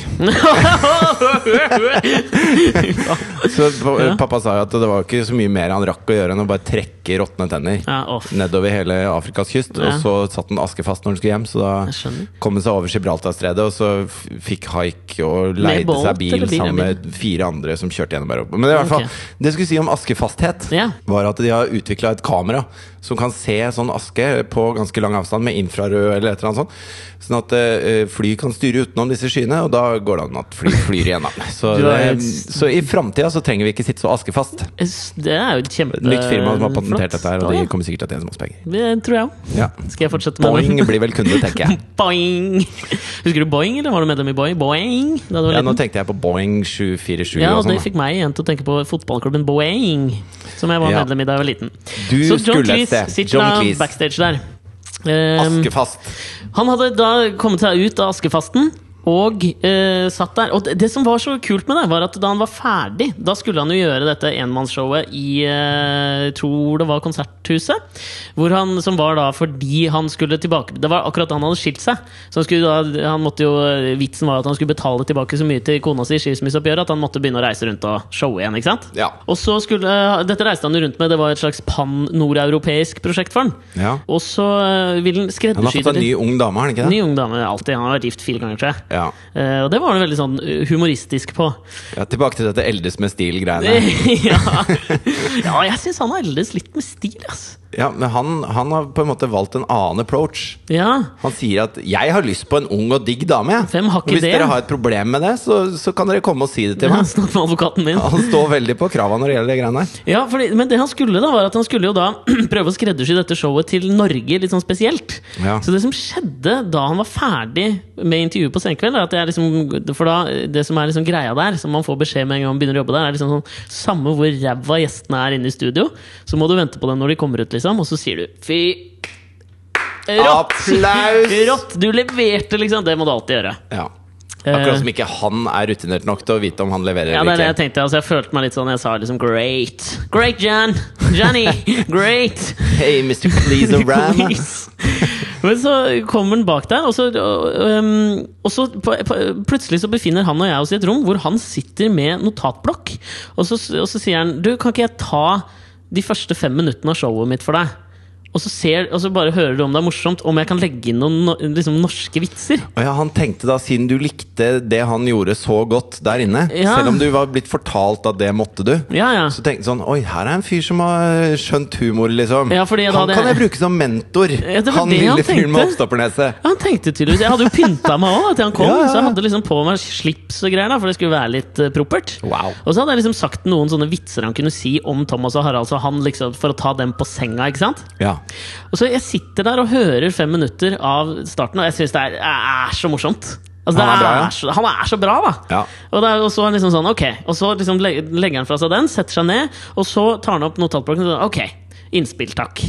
Så pa- pappa sa jo at det var ikke så mye mer han rakk å gjøre enn å bare trekke råtne tenner. Ja, off. Nedover hele Afrikas kyst, Ja. og så satt han askefast når han skulle hjem. Så Jeg da skjønner. kom han seg over Gibraltarstredet, og så f- fikk haik og Med leide båt, seg bil eller bil? sammen med fire andre som kjørte gjennom Europa. Men i hvert fall, Ok. det jeg skulle si om askefasthet, Ja. var at de har utvikla et kamera som kan se sånn aske på ganske lang avstand med infrarød eller et eller annet sånt. Sånn at eh, fly kan styre utenom disse skyene, og da går det an at fly flyr igjennom. Så, Du har det- helt- så i framtida så trenger vi ikke sitte så askefast. S- Det er jo et kjempe... Nytt firma som har patentert flott. dette her, og Ja, de kommer sikkert til å tjene masse penger. Det tror jeg òg. Ja. Skal jeg fortsette med Boeing blir vel kunde, tenker jeg. Boing! Husker du Boing, eller var du medlem i Boing? Boing! Da du var Ja, nå liten? tenkte jeg på Boeing 747 Ja, og og det sånn. da. fikk meg igjen til å tenke på fotballklubben Boeing, som jeg var Ja. medlem i da jeg var liten. Du Så John skulle et Cleese sted. sitter John da Cleese. backstage der. Ehm, Askefast. han hadde da kommet seg ut av askefasten og eh, satt der. Og det, det som var så kult med det, var at da han var ferdig, da skulle han jo gjøre dette enmannsshowet i eh, jeg tror det var Konserthuset. Hvor han, som var da fordi han skulle tilbake Det var akkurat da han hadde skilt seg. Så han skulle da, han måtte jo, eh, vitsen var at han skulle betale tilbake så mye til kona si i skilsmisseoppgjøret at han måtte begynne å reise rundt og showe igjen. ikke sant? Ja. Og så skulle, eh, Dette reiste han jo rundt med, det var et slags pan-nordeuropeisk prosjekt for han. Ja. Og så eh, ville Han han har skreddersy fått en ny ung dame, har han ikke det? Ny ung dame alltid. Han har vært gift fire ganger, tror jeg. Ja. Eh, og det var han veldig sånn eh, humoristisk på. ja. Tilbake til dette eldes med stil-greiene. ja. ja, jeg syns han har eldes litt med stil, ass. Ja, men han, han har på en måte valgt en annen approach. Ja. Han sier at 'jeg har lyst på en ung og digg dame', jeg. Hvem har ikke Hvis det? dere har et problem med det, så, så kan dere komme og si det til meg. Snakk med advokaten min. Han står veldig på krava når det gjelder de greiene her. Ja, fordi, Men det han skulle, da var at han skulle jo da prøve å skreddersy dette showet til Norge litt sånn spesielt. Ja. Så det som skjedde da han var ferdig med intervjuet på Senkveld, er at jeg liksom, for da, det som er liksom greia der, som man får beskjed med en gang man begynner å jobbe der, er liksom sånn samme hvor ræva gjestene er inne i studio, så må du vente på dem når de kommer ut, liksom, og så sier du fy Rått! Applaus! Rått! Du leverte, liksom. Det må du alltid gjøre. Ja. Akkurat som ikke han er rutinert nok til å vite om han leverer Eh. Ja, det er det eller jeg ikke. tenkte. Altså, jeg følte meg litt sånn Jeg sa liksom great. Great, Jan! Johnny! Great! Hey, Mr. Please Ram. Please. Men så kommer han bak der, og så, øhm, og så på, på, plutselig så befinner han og jeg oss i et rom hvor han sitter med notatblokk. Og så, og så sier han Du, kan ikke jeg ta de første fem minuttene av showet mitt for deg? Og så, ser, og så bare hører du om det er morsomt, om jeg kan legge inn noen no- liksom, norske vitser. Og ja, han tenkte da, siden du likte det han gjorde så godt der inne, Ja. selv om du var blitt fortalt at det måtte du, Ja, ja. så tenkte han sånn Oi, her er en fyr som har eh, skjønt humor, liksom. Ja, fordi da han det- kan jeg bruke som mentor. det var han det han lille fyren med tenkte. oppstappernese. Ja, han tenkte tydeligvis Jeg hadde jo pynta meg òg til han kom, Ja, ja, ja. så jeg hadde liksom på meg slips og greier, da, for det skulle være litt eh, propert. Wow. Og så hadde jeg liksom sagt noen sånne vitser han kunne si om Thomas og Harald, så han liksom, for å ta dem på senga, ikke sant? Ja. Og så jeg sitter der og hører fem minutter av starten, og jeg syns det er, er så morsomt. Altså, det Han er er bra, ja. så, han er så bra, da! Ja. Og, det er, og så er han liksom sånn, ok Og så liksom le- legger han fra seg den, setter seg ned, og så tar han opp notatblokken og sånn, ok, innspill, takk.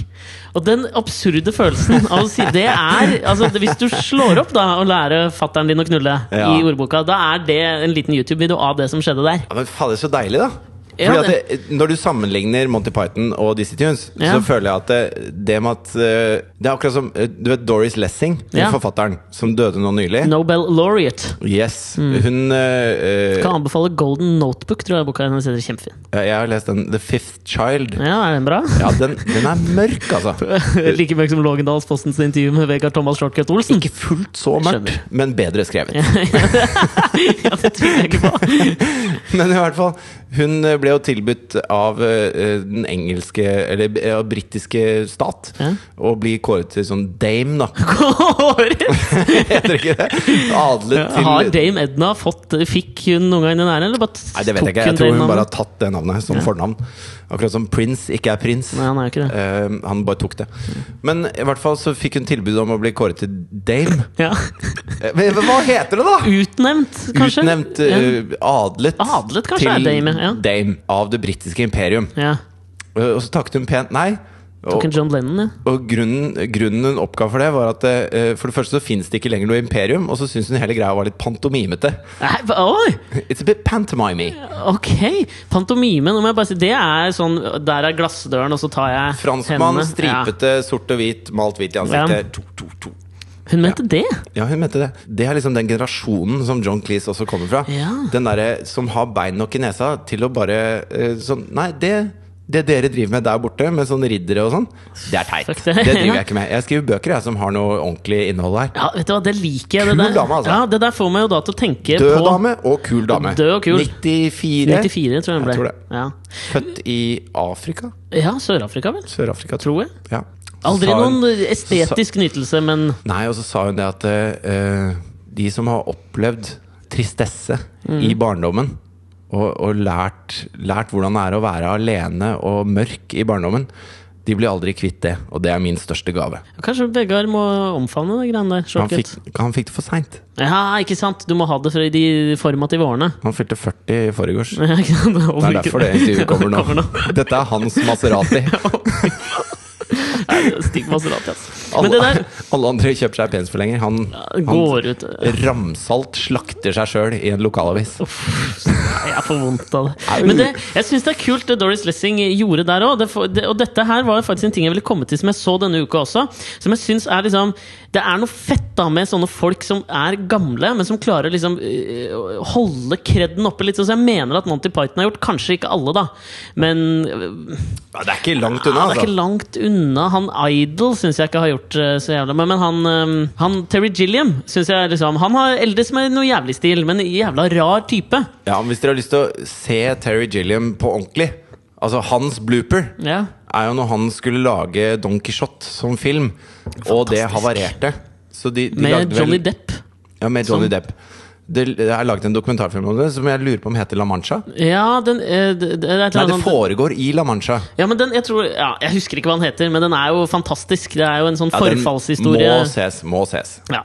Og den absurde følelsen av å si det er altså, det- Hvis du slår opp da og lærer fattern din å knulle Ja. i ordboka, da er det en liten YouTube-video av det som skjedde der. Ja, men fader, så deilig, da. Ja, Fordi at det, når du sammenligner Monty Python og Dizzie Tunes, Ja. så føler jeg at det, det med at eh, Det er akkurat som eh, Du vet Doris Lessing, hun Ja. forfatteren som døde nå nylig? Nobel laureate. Yes. Mm. Hun eh, eh, Kan anbefale Golden Notebook, tror jeg boka hennes heter. Kjempefin. Jeg har lest den The Fifth Child. Ja, er den bra? Ja, den, den er mørk, altså. like mørk som Lågendalspostens intervju med Vegard Thomas Shortcut Olsen. Ikke fullt så mørkt, Skjønner. men bedre skrevet. ja, det tviler jeg ikke på. Men i hvert fall, hun eh, ble jo tilbudt av eh, den engelske, eller eh, av britiske stat, Ja. å bli kåret til sånn dame, da. Håret! Heter det ikke det? Adlet Har til Dame Edna fått eh, Fikk hun noen gang den æren, eller bare Nei, det vet jeg ikke. Jeg tok tror den hun bare navnet? har tatt det navnet som fornavn. Akkurat som prins ikke er prins. Nei, Mm. han er jo ikke det. Eh, han bare tok det. Men i hvert fall så fikk hun tilbud om å bli kåret til dame. Ja. Eh, Men hva heter det, da? Utnevnt, kanskje? Utnevnt, Ja. eh, adlet, Adlet, kanskje, er til dame, ja. dame av det britiske imperium. ja. Eh, Og så takket hun pent nei. Tok Og, en John Lennon, ja. og grunnen, grunnen hun oppga for det, var at eh, for det første så fins det ikke lenger noe imperium, og så syns hun hele greia var litt pantomimete. Nei, hva- oi! It's a bit pantomimey. Ok! Pantomime. Nå må jeg bare si Det er sånn Der er glassdøren, og så tar jeg Franskmann, hendene. stripete, sort og hvit, malt hvit i Ja. ansiktet. To, to, to. Ja. Hun mente det? Ja, hun mente det. Det er liksom den generasjonen som John Cleese også kommer fra. Ja. Den derre som har bein nok i nesa til å bare eh, sånn Nei, det det dere driver med der borte, med sånn riddere og sånn, det er teit. Fuck Det det. driver Ja. jeg ikke med. Jeg skriver bøker jeg, som har noe ordentlig innhold her. Ja, vet du hva, det liker jeg. Det Kul der, dame, altså. ja, det der får meg jo da til å tenke Død på dame og kul dame. Død og kul. 94. 94, tror jeg hun ble. Jeg tror det. Ja, Født i Afrika? ja Sør-Afrika, vel? Sør-Afrika, tror jeg. Tror jeg. Ja. Så Aldri sa hun- noen estetisk nytelse, men Nei, og så sa hun det at eh, de som har opplevd tristesse Mm. i barndommen, og, og lært, lært hvordan det er å være alene og mørk i barndommen, de blir aldri kvitt det, og det er min største gave. kanskje Vegard må omfavne de greiene der. Han Sjokket. fikk, han fikk det for seint. Ja, ikke sant? Du må ha det fra de formative årene. Han fylte 40 i forgårs. Ja, ikke sant? Det er derfor det intervjuet kommer nå. Kommer nå. Dette er hans Maserati. Nei, Stig Maserati, altså. Men det Alle, der alle andre kjøper seg penisforlenger. Han, han går ut ramsalt slakter seg sjøl i en lokalavis. Nei, Jeg får vondt av det. Men det, jeg syns det er kult det Doris Lessing gjorde der òg. Det, for- det, og dette her var jo faktisk en ting jeg ville komme til som jeg så denne uka også. Som jeg synes er liksom Det er noe fett da med sånne folk som er gamle, men som klarer liksom øh, å holde kredden oppe litt. sånn som jeg mener at Monty Python har gjort. Kanskje ikke alle, da. Men øh, Ja, Det er ikke langt ja, unna, det er ikke altså. langt unna. Han Idol syns jeg ikke har gjort eh, så jævla mye. Men han, eh, han Terry Gilliam synes jeg liksom Han har eldes med noe jævlig stil, men jævla rar type. Ja, men hvis dere har lyst til å se Terry Gilliam på ordentlig Altså hans blooper Ja. er jo når han skulle lage Don Quijote som film, og det havarerte. Så de, de lagde Med vel- Johnny Depp. Ja, med Johnny Depp. Det det er laget en dokumentarfilm om det som jeg lurer på om heter La Mancha. Ja, den eh, det, det er et Nei, eller det annet- foregår i La Mancha. ja, men den, jeg, tror, ja, jeg husker ikke hva den heter, men den er jo fantastisk. Det er jo en sånn Ja, den forfallshistorie. Må ses, må ses. Ja.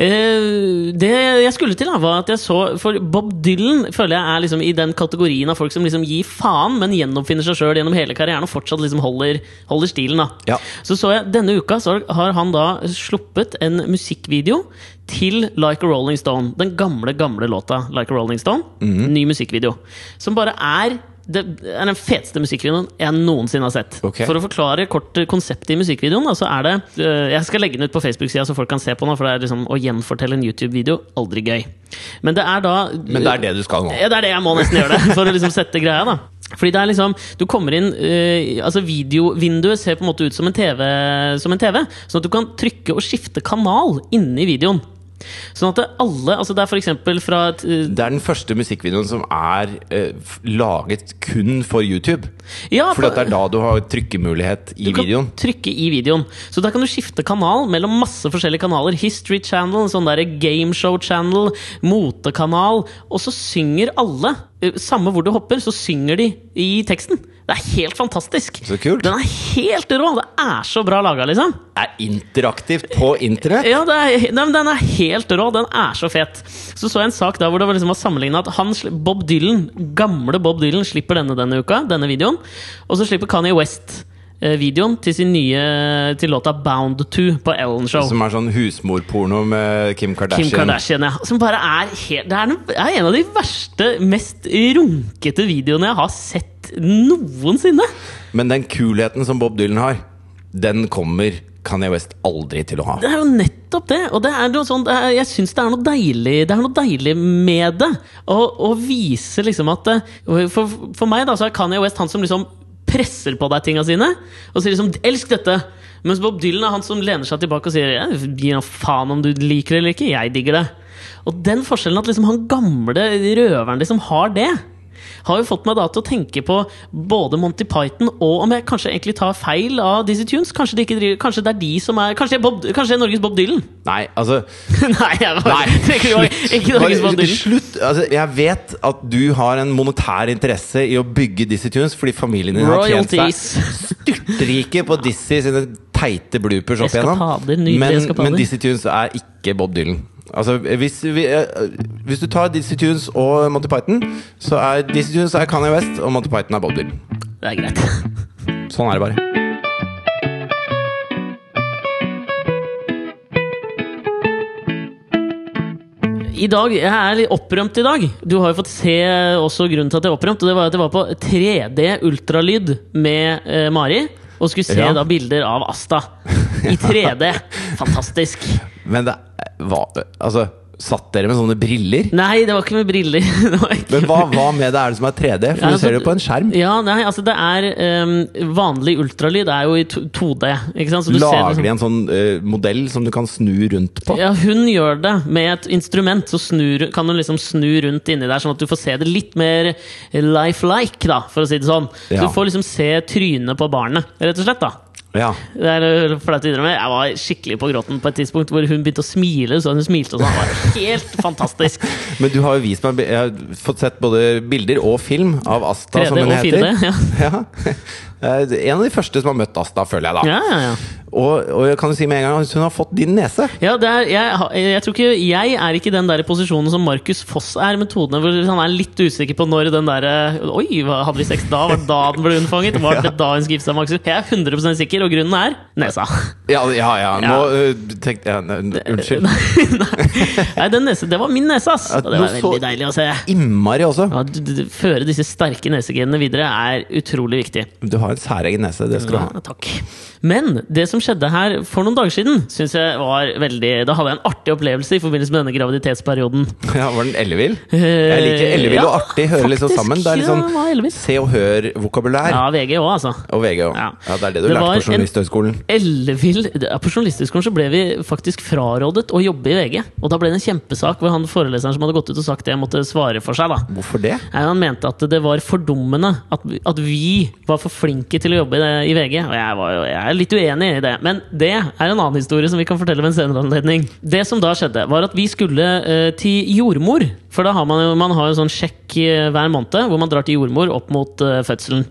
Eh, det jeg skulle til, da, var at jeg så For Bob Dylan føler jeg er liksom i den kategorien av folk som liksom gir faen, men gjenoppfinner seg sjøl gjennom hele karrieren og fortsatt liksom holder, holder stilen. da Ja. Så så jeg denne uka så har han da sluppet en musikkvideo til Like a Rolling Stone. Den gamle, gamle låta Like a Rolling Stone. Mhm. Ny musikkvideo. Som bare er det er den feteste musikkvideoen jeg noensinne har sett. Ok. For å forklare kort eh, konseptet i musikkvideoen, da, så er det eh, Jeg skal legge den ut på Facebook-sida, så folk kan se på den. For det er liksom å gjenfortelle en YouTube-video aldri gøy. Men det er da Men det er det du skal nå. ja, det er det jeg må nesten gjøre det, for å liksom sette greia, da. Fordi det er liksom, du kommer inn eh, Altså Videovinduet ser på en måte ut som en TV, som en TV sånn at du kan trykke og skifte kanal inni videoen. Sånn at det alle Altså Det er f.eks. fra et, eh, Det er den første musikkvideoen som er eh, f- laget kun for YouTube. Ja, For det er da du har trykkemulighet i Du kan videoen. Trykke i videoen. Så da kan du skifte kanal mellom masse forskjellige kanaler. History Channel, en sånn der gameshow channel, motekanal. Og så synger alle, eh, samme hvor du hopper, så synger de i teksten. Det er helt fantastisk. Så kult. Den er helt rå! Det er så bra laga, liksom. Det er interaktivt på internett! Ja, det er, nei, men Den er helt rå. Den er så fet. Så så jeg en sak da hvor det var liksom var sammenligna at han, sli- Bob Dylan, gamle Bob Dylan slipper denne denne uka, denne videoen. Og så slipper Kanye West eh, videoen til sin nye til låta 'Bound to' på Ellen Show. Som er sånn husmorporno med Kim Kardashian. Kim Kardashian, ja. Som bare er helt Det er, den, er en av de verste, mest runkete videoene jeg har sett noensinne. Men den kulheten som Bob Dylan har, den kommer Kanye West aldri til å ha. Det er jo nettopp det. Og det er noe sånn, det er, jeg syns det er noe deilig Det er noe deilig med det. Å å vise liksom at eh, For, for meg da så er Kanye West han som liksom presser på deg tinga sine. Og sier liksom 'elsk dette'. Mens Bob Dylan er han som lener seg tilbake og sier «Jeg gir nå faen om du liker det eller ikke, jeg digger det'. Og den forskjellen at liksom han gamle røveren liksom har det, har jo fått meg da til å tenke på både Monty Python og om jeg kanskje egentlig tar feil av Dizzie Tunes. Kanskje, de ikke driver, kanskje det er de som er Kanskje jeg er, Bob, kanskje jeg er Norges Bob Dylan? Nei, altså Nei, jeg bare, Nei, tenker jo ikke, ikke Bare Norges Bob Dylan. slutt! Altså, jeg vet at du har en monetær interesse i å bygge Dizzie Tunes fordi familien din har tjent seg Royalties. styrtrike på Dizzie sine teite bloopers opp igjennom. Eskapader, nydelige Men, eskapader. men Dizzie Tunes er ikke Bob Dylan. Altså, hvis, vi, eh, hvis du tar Dizzie Tunes og Monty Python, så er Dizzie Tunes er Kanye West, og Monty Python er Bob Dylan. Det er greit. Sånn er det bare. I dag, Jeg er litt opprømt i dag. Du har jo fått se også grunnen til at jeg er opprømt. Og det var at jeg var på 3D ultralyd med eh, Mari. Og skulle se Ja. da bilder av Asta i 3D. Fantastisk. Men det var Altså, Satt dere med sånne briller? Nei, det var ikke med briller. Det var ikke Men hva, hva med det er det som er 3D? For Ja, du ser altså- det på en skjerm. Ja, nei, altså det er ehm, Vanlig ultralyd er jo i to- 2D. Ikke sant? Så du ser Lager det de sånn- en sånn eh, modell som du kan snu rundt på? ja, hun gjør det med et instrument. Så snur, kan hun liksom snu rundt inni der, sånn at du får se det litt mer life-like, da, for å si det sånn. Så Ja. Du får liksom se trynet på barnet, rett og slett. da Ja. det er øh, flaut å innrømme. Jeg var skikkelig på gråten på et tidspunkt hvor hun begynte å smile. Så hun smilte og sånn. Det var helt fantastisk. Men du har jo vist meg Jeg har fått sett både bilder og film av Asta, 3D som hun og heter. 4D. Ja, Ja. Eh, En av de første som har møtt Asta, føler jeg da. ja, ja. ja. Og, og jeg kan jo si med en gang at hun har fått din nese. Ja, det er, jeg, har- jeg tror ikke Jeg er ikke i den der posisjonen som Markus Foss er i metodene, hvor han er litt usikker på når den derre Oi, hva- hadde vi sex da? Var det da den ble unnfanget? Var det da hun skrev seg Markus? Jeg er 100 sikker, og grunnen er nesa. Ja, ja. ja. Nå Ja. eh, tenkte jeg nei, nei, Unnskyld. Nei, den nese, det var min nese, ass! Ja, Og det var nå så- veldig deilig å se. Innmari også. Ja, d- d- føre disse sterke nesegenene videre er utrolig viktig. Du har en særegen nese. Det skal du ha. Ja, takk. Men det som skjedde her for noen dager siden, synes jeg var veldig Da hadde jeg en artig opplevelse i forbindelse med denne graviditetsperioden. Ja, Var den ellevill? Eh, Jeg liker ellevill og ja, artig. Hører liksom faktisk, sammen. Det er litt ja, det var sånn ellevill. se og hør-vokabulær. Ja, VG òg, altså. Og VG òg. Ja. Ja, det er det du Det lærte var en- på Journalisthøgskolen. Ellevill ja, På Journalisthøgskolen så ble vi faktisk frarådet å jobbe i VG. Og da ble det en kjempesak hvor han foreleseren som hadde gått ut og sagt det, måtte svare for seg. da Hvorfor det? Nei, Han mente at det var fordummende at, vi- at vi var for flinke til å jobbe i, det, i VG. Og jeg, var, jo- jeg er litt uenig i det, men det er en annen historie som vi kan fortelle ved en senere anledning. Det som da skjedde, var at vi skulle eh, til jordmor. For da har man jo man har jo sånn sjekk eh, hver måned hvor man drar til jordmor opp mot eh, fødselen.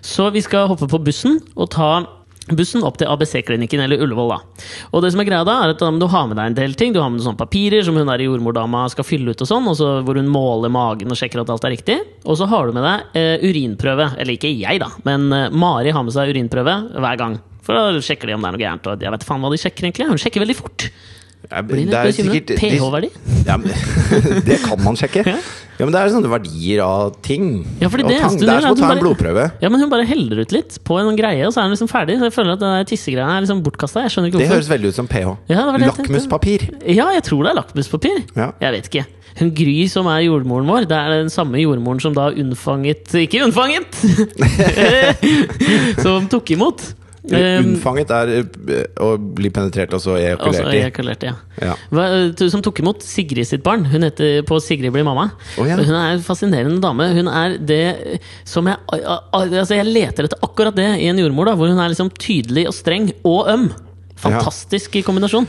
Så vi skal hoppe på bussen og ta bussen opp til ABC-klinikken, eller Ullevål. da. Og det som er greia da, er at da må du har med deg en del ting. Du har med deg sånne papirer som hun der jordmordama skal fylle ut, og sånn, og så hvor hun måler magen og sjekker at alt er riktig. Og så har du med deg eh, urinprøve. Eller ikke jeg, da, men eh, Mari har med seg urinprøve hver gang. For da sjekker de om det er noe gærent. Og jeg vet faen hva de sjekker, egentlig. Hun sjekker veldig fort. Ja, Blir litt bekymret. pH-verdi? Ja, men, det kan man sjekke. Ja, men Det er sånne verdier av ting. Ja, fordi og det tang. eneste det hun er som å ta gjør er sånn at en hun blodprøve. Ja, men hun bare heller ut litt på en greie, og så er hun liksom ferdig. Så jeg føler at den der tissegreia er liksom bortkasta. Jeg skjønner ikke Det hvorfor. høres veldig ut som pH. Ja, det var det jeg tenkte. Lakmuspapir. Ja, jeg tror det er lakmuspapir. Ja. Jeg vet ikke. Hun Gry, som er jordmoren vår, det er den samme jordmoren som da unnfanget Ikke unnfanget! som tok imot. Um, Unnfanget er eh, å bli penetrert og så altså, ejakulert i. ejakulerte, ja. Ja. Hva- t- Som tok imot Sigrid sitt barn. Hun heter på Sigrid blir mamma. Å, ja. Hun er en fascinerende dame. Hun er det som jeg a- a- Altså, jeg leter etter akkurat det i en jordmor, da, hvor hun er liksom tydelig og streng og øm. Fantastisk kombinasjon.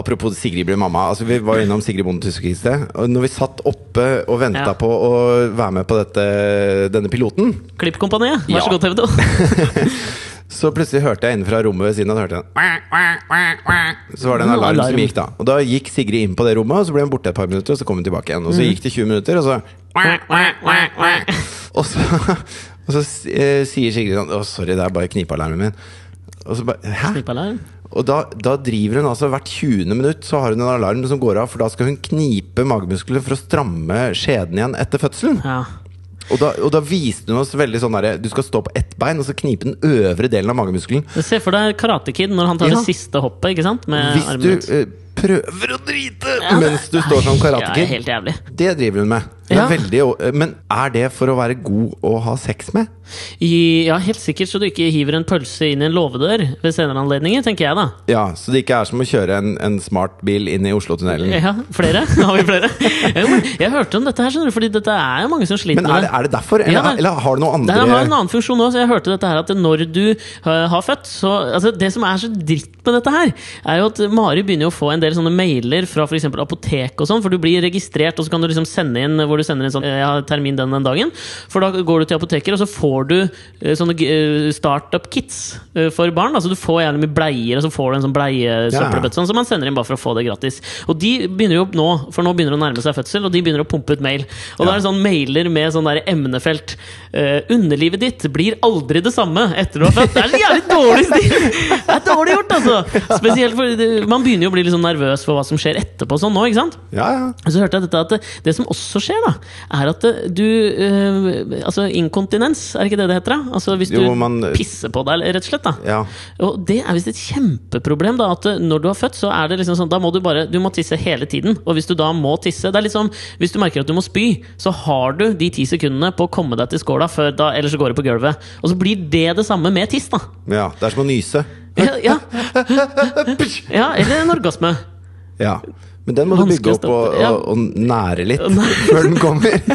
Apropos Sigrid blir mamma. Altså, vi var jo innom Sigrid Bonde Tusvik i sted. Og når vi satt oppe og venta Ja. på å være med på dette, denne piloten, Klippkompaniet, vær Ja. så god, TV 2. så plutselig hørte jeg innenfra rommet ved siden av hørte jeg en Så var det en Ja, alarm, alarm. som gikk, da. Og da gikk Sigrid inn på det rommet, og så ble hun borte et par minutter, og så kom hun tilbake igjen. Og så gikk det 20 minutter, og så Og så, og så eh, sier Sigrid sånn Å, sorry, det er bare knipealarmen min. Og så bare Hæ? Klippalarm. Og da, da driver hun altså hvert 20. minutt så har hun en alarm som går av, for da skal hun knipe magemusklene for å stramme skjeden igjen etter fødselen. Ja. Og da, og da viste hun oss veldig sånn derre Du skal stå på ett bein og så knipe den øvre delen av magemuskelen. Se for deg Karate Kid når han tar Ja. det siste hoppet. ikke sant? Med Hvis armen du ut. eh, prøver å drite mens du står som Ja, det er karatekid. helt jævlig. Det driver hun med. Hun Ja. er veldig, å- men er det for å være god å ha sex med? I, ja, Helt sikkert så du ikke hiver en pølse inn i en låvedør ved senere anledninger, tenker jeg da. Ja, Så det ikke er som å kjøre en, en smart bil inn i Oslotunnelen. Ja, Flere? Har vi flere? Jo, men Jeg hørte om dette her, skjønner du, fordi dette er jo mange som sliter Men er med det, det. er det derfor? Eller, eh, Ja, det- eller har det noen andre Det her har en annen funksjon også, jeg hørte dette her at når du eh, har født så, altså Det som er så dritt med dette her, er jo at Mari begynner jo å få en del sånne mailer fra f.eks. apotek og sånn, for du blir registrert, og så kan du liksom sende inn hvor du sender inn sånn eh, 'Jeg har termin den den dagen', for da går du til apoteker, og så får du eh, sånne eh, startup-kits eh, for barn. Altså du får gjerne mye bleier, og så får du en sånn bleiesøppelbøtte sånn, som man sender inn bare for å få det gratis. Og de begynner jo opp nå, for nå begynner det å nærme seg fødsel, og de begynner å pumpe ut mail. Og da er det sånn mailer med sånn der emnefelt. eh, underlivet ditt blir aldri det samme etter du har født. Det er en jævlig dårlig stil! Det er dårlig gjort, altså! Spesielt for Man begynner jo å bli litt sånn nervøs for hva som skjer etterpå. og Sånn nå, ikke sant? Ja, ja. Og Så hørte jeg dette at det, det som også skjer, da, er at eh, du eh, Altså inkontinens, er det ikke det det heter? da? Altså Hvis du Jo, man- pisser på deg, rett og slett. da ja. og det er visst et kjempeproblem da, at eh, når du er født, så er det liksom sånn, da må du bare du må tisse hele tiden. Og hvis du da må tisse det er litt sånn, Hvis du merker at du må spy, så har du de ti sekundene på å komme deg til skåla, før da, ellers så går det på gulvet. Og så blir det det samme med tiss, da. ja. Det er som å nyse. Ja, ja, Psh! ja eller en orgasme. Ja. Men den må du Vanskelig bygge å opp og, stoppe, ja. og, og nære litt før den kommer.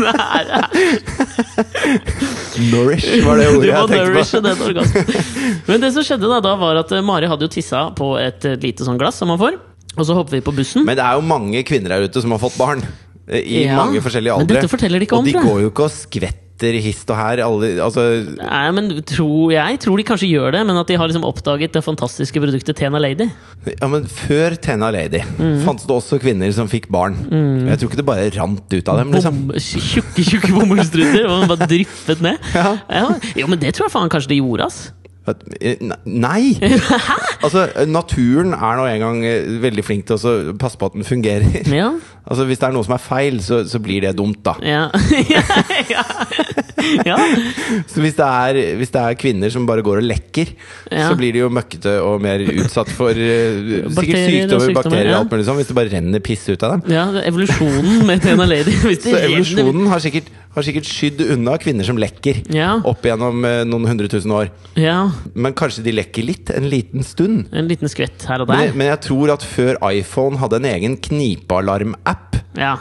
Det er, Nourish var det ordet jeg du må tenkte nourishe på. den orgasmen. Men det som skjedde da, da var at eh, Mari hadde jo tissa på et eh, lite sånn glass som man får. Og så hopper vi på bussen. Men det er jo mange kvinner der ute som har fått barn. eh, I Ja. mange forskjellige Men aldre. dette forteller de ikke om, og de tror jeg. går jo ikke og skvetter hist og her. Alle, altså, Nei, men tror jeg tror de kanskje gjør det, men at de har liksom oppdaget det fantastiske produktet Tena Lady. ja, men før Tena Lady Mm. fantes det også kvinner som fikk barn. Jeg tror ikke det bare rant ut av dem. Liksom. Bom, tjukke, tjukke bomullstruter. Og bare dryppet ned. Ja. Jo, men det tror jeg faen kanskje de gjorde, ass. At, eh, ne- Nei! Altså, eh, naturen er nå engang veldig flink til å så passe på at den fungerer. Ja. Altså, Hvis det er noe som er feil, så, så blir det dumt, da. Ja. ja. ja. Så hvis det, er, hvis det er kvinner som bare går og lekker, Ja. så blir de jo møkkete og mer utsatt for eh, sikkert Bakterier og sykdommer, sykdommer, bakterier og ja. alt mulig sånn, hvis det bare renner piss ut av dem. ja evolusjonen med Tena Lady. Hvis det Så renner- evolusjonen har sikkert, har sikkert skydd unna kvinner som lekker Ja. opp gjennom eh, noen hundre tusen år. Ja. Men kanskje de lekker litt, en liten stund. En liten skvett her og Men, der. men jeg tror at før iPhone hadde en egen knipealarm-app, Ja.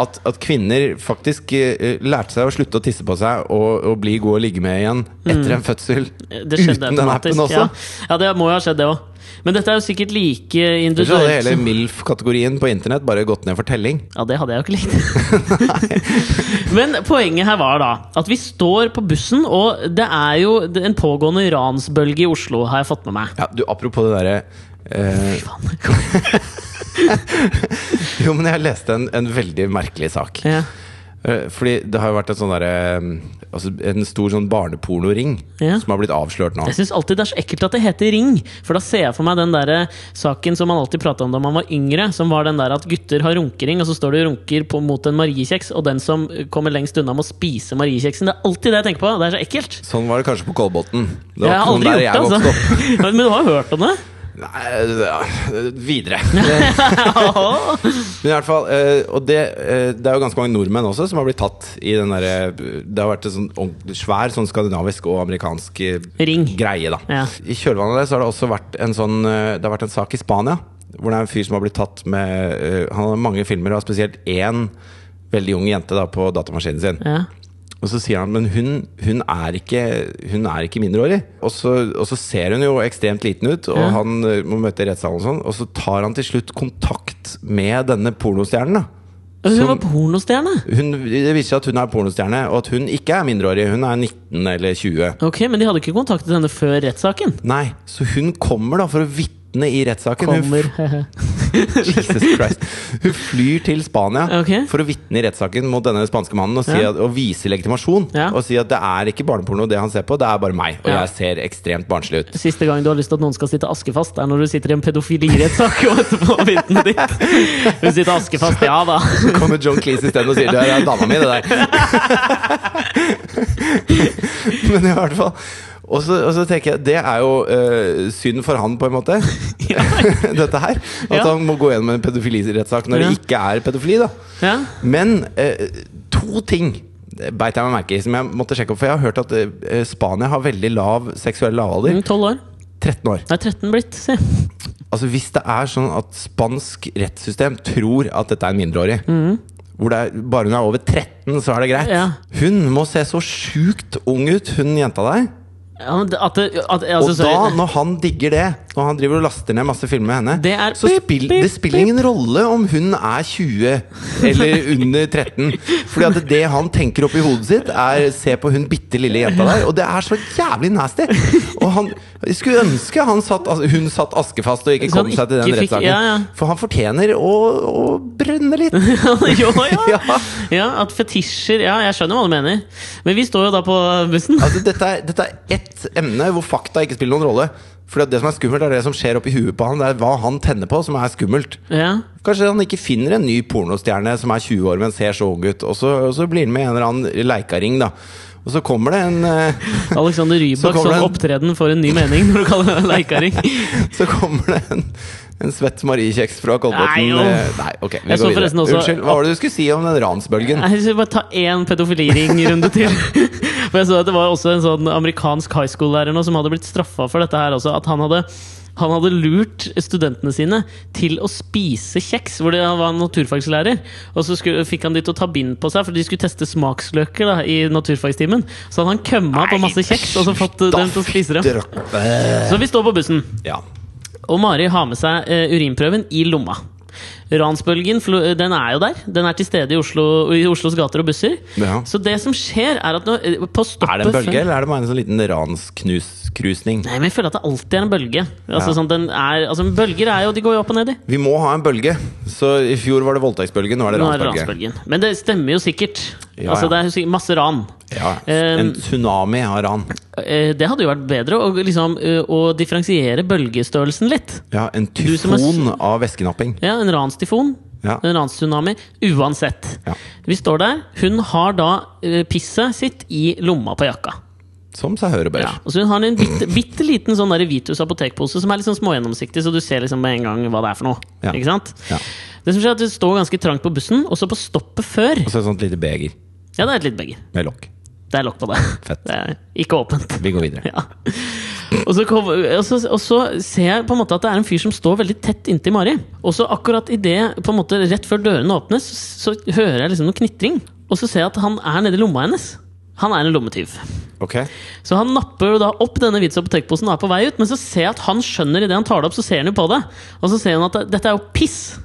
at, at kvinner faktisk eh, lærte seg å slutte å tisse på seg og, og bli gode å ligge med igjen etter en fødsel. Mm. Det skjedde Uten den appen automatisk. også. Ja. ja, det må jo ha skjedd, det òg. Men dette er jo sikkert like Ellers hadde hele individuelt. MILF-kategorien på internett bare gått ned for telling. Ja, det hadde jeg jo ikke likt. Men poenget her var da at vi står på bussen, og det er jo en pågående ransbølge i Oslo, har jeg fått med meg. Ja, du, apropos det derre eh, Faen. Jo, men jeg leste en, en veldig merkelig sak. Ja. Eh, Fordi det har jo vært et sånn derre eh, altså En stor sånn barnepornoring Ja. som har blitt avslørt nå. Jeg syns alltid det er så ekkelt at det heter ring, for da ser jeg for meg den der eh, saken som man alltid prata om da man var yngre, som var den der at gutter har runkering, og så står du og runker på, mot en mariekjeks, og den som eh, kommer lengst unna, må spise mariekjeksen. Det er alltid det jeg tenker på, det er så ekkelt. Sånn var det kanskje på Kolbotn. Det Jeg var ikke noen har aldri der jeg gjort det, vokste opp. altså. Men du har jo hørt om det? Nei, ja, videre. Men i hvert fall, eh, og det, eh, det er jo ganske mange nordmenn også som har blitt tatt i den derre Det har vært en sånn ordentlig svær sånn skandinavisk og amerikansk eh, Ring. greie, da. Ja. I kjølvannet av det så har det også vært en sånn eh, Det har vært en sak i Spania hvor det er en fyr som har blitt tatt med eh, Han har mange filmer, og har spesielt én veldig ung jente da på datamaskinen sin. Ja. Og så sier han men hun, hun, er, ikke, hun er ikke mindreårig. Og så, og så ser hun jo ekstremt liten ut, og Ja. han eh, må møte i rettssalen og sånn. Og så tar han til slutt kontakt med denne pornostjernen. da. Hun Som- var pornostjerne. Hun, det viser seg at hun er pornostjerne, og at hun ikke er mindreårig. Hun er 19 eller 20. Ok, Men de hadde ikke kontaktet henne før rettssaken? Nei, så hun kommer da for å vitne i rettssaken. Hun, Kommer. Jesus Christ. hun flyr til Spania Ok. for å vitne i rettssaken mot denne spanske mannen og, si Ja. at, og vise legitimasjon. Ja. Og si at det er ikke barneporno det han ser på, det er bare meg. Og Ja. jeg ser ekstremt barnslig ut. Siste gang du har lyst til at noen skal sitte askefast, er når du sitter i en pedofilirettssak og etterpå vitnet ditt. Hun sitter askefast, ja da. Så kommer John Cleese isteden og sier Det er dama mi, det der. Men i hvert fall og så, og så tenker jeg, Det er jo øh, synd for han, på en måte, dette her. At Ja. han må gå gjennom en pedofilirettssak når det ikke er pedofili. da Ja. Men øh, to ting det beit jeg meg merke i, som jeg måtte sjekke opp. For jeg har hørt at øh, Spania har veldig lav seksuell lavalder. Mm, Tolv år. 13 år. Nei, 13 blitt, si. Altså Hvis det er sånn at spansk rettssystem tror at dette er en mindreårig Hvor det er, bare hun er over 13, så er det greit. Ja. Hun må se så sjukt ung ut, hun jenta der. Ja, men det- at det, at, altså, Og da, sorry. når han digger det, når han driver og laster ned masse filmer med henne, Det er så pip, spill, pip, det spiller ingen rolle om hun er 20 eller under 13. Fordi at det han tenker oppi hodet sitt, er se på hun bitte lille jenta der. Og det er så jævlig nasty! Og han, jeg skulle ønske han satt, altså, hun satt askefast og ikke Så han kom seg til den ikke fikk- rettssaken. ja, ja. For han fortjener å, å brenne litt. jo, ja. Ja. ja, at fetisjer Ja, jeg skjønner hva du mener. Men vi står jo da på bussen. Altså, dette, er, dette er ett emne hvor fakta ikke spiller noen rolle. For det som er skummelt, er det som skjer oppi huet på han. Det er hva han tenner på, som er skummelt. Ja. Kanskje han ikke finner en ny pornostjerne som er 20 år, men ser så ung ut. Og så, og så blir han med i en eller annen leikaring, da. Og så kommer det en eh, Alexander Rybak kommer som det en- opptreden får en ny mening når du kaller det leikaring. Så kommer det en, en svett mariekjeks fra Nei, Kolbotn. jo. Eh, Nei, ok, vi Jeg så går videre. forresten også- Unnskyld, hva var det du skulle si om den ransbølgen? Jeg skal bare ta én pedofiliringrunde til. For jeg så at Det var også en sånn amerikansk high school-lærer nå som hadde blitt straffa for dette. her også, At han hadde, han hadde lurt studentene sine til å spise kjeks. Hvor det, han var naturfagslærer. Og så skulle, fikk han de til å ta bind på seg, for de skulle teste smaksløker da, i naturfagstimen. Så hadde han kømma på masse kjeks og så fått eh, dem til å spise dem. dem. Så vi står på bussen. Ja. Og Mari har med seg eh, urinprøven i lomma. Ransbølgen flo- eh, den er jo der. Den er til stede i, Oslo, i Oslos gater og busser. Ja. Så det som skjer, er at når, eh, på stoppet Er det en bølge, før- eller er det bare en sånn liten ranskrusning? Nei, men Jeg føler at det alltid er en bølge. Altså, Ja. sånn, den er, altså Bølger er jo, de går jo opp og ned, de. Vi må ha en bølge. Så i fjor var det voldtektsbølge, nå er det Nå er det ransbølge. ransbølgen. Men det stemmer jo sikkert. Ja, altså ja. Det er jo sikkert masse ran. Ja. Eh, En tsunami av ran. Eh, Det hadde jo vært bedre å, liksom, eh, å differensiere bølgestørrelsen litt. Ja, en som er tyfon av væskenapping. Ja, En ranstifon. Ja. En ranstsunami. Uansett. Ja. Vi står der. Hun har da eh, pisset sitt i lomma på jakka. Som seg hør og bør. Ja. Og så hun har en bitte, bitte liten sånn der Vitus apotekpose som er litt sånn smågjennomsiktig, så du ser liksom med en gang hva det er for noe. Ja. Ikke sant? Ja. Det som skjer er at det står ganske trangt på bussen, og så på stoppet før Og så et sånt lite beger Ja, det er et lite beger. med lokk. Det er lokk på det. Fett. Det er ikke åpent. Vi går videre. Ja. Og, så kom, og, så, og så ser jeg på en måte at det er en fyr som står veldig tett inntil Mari. Og så akkurat i det, på en måte rett før dørene åpnes, så, så hører jeg liksom noe knitring. Og så ser jeg at han er nedi lomma hennes. Han er en lommetyv. Ok. Så han napper jo da opp denne Vits apotekposen og er på vei ut, men så ser jeg at han skjønner idet han tar det opp, så ser han jo på det. Og så ser han at det- dette er jo piss.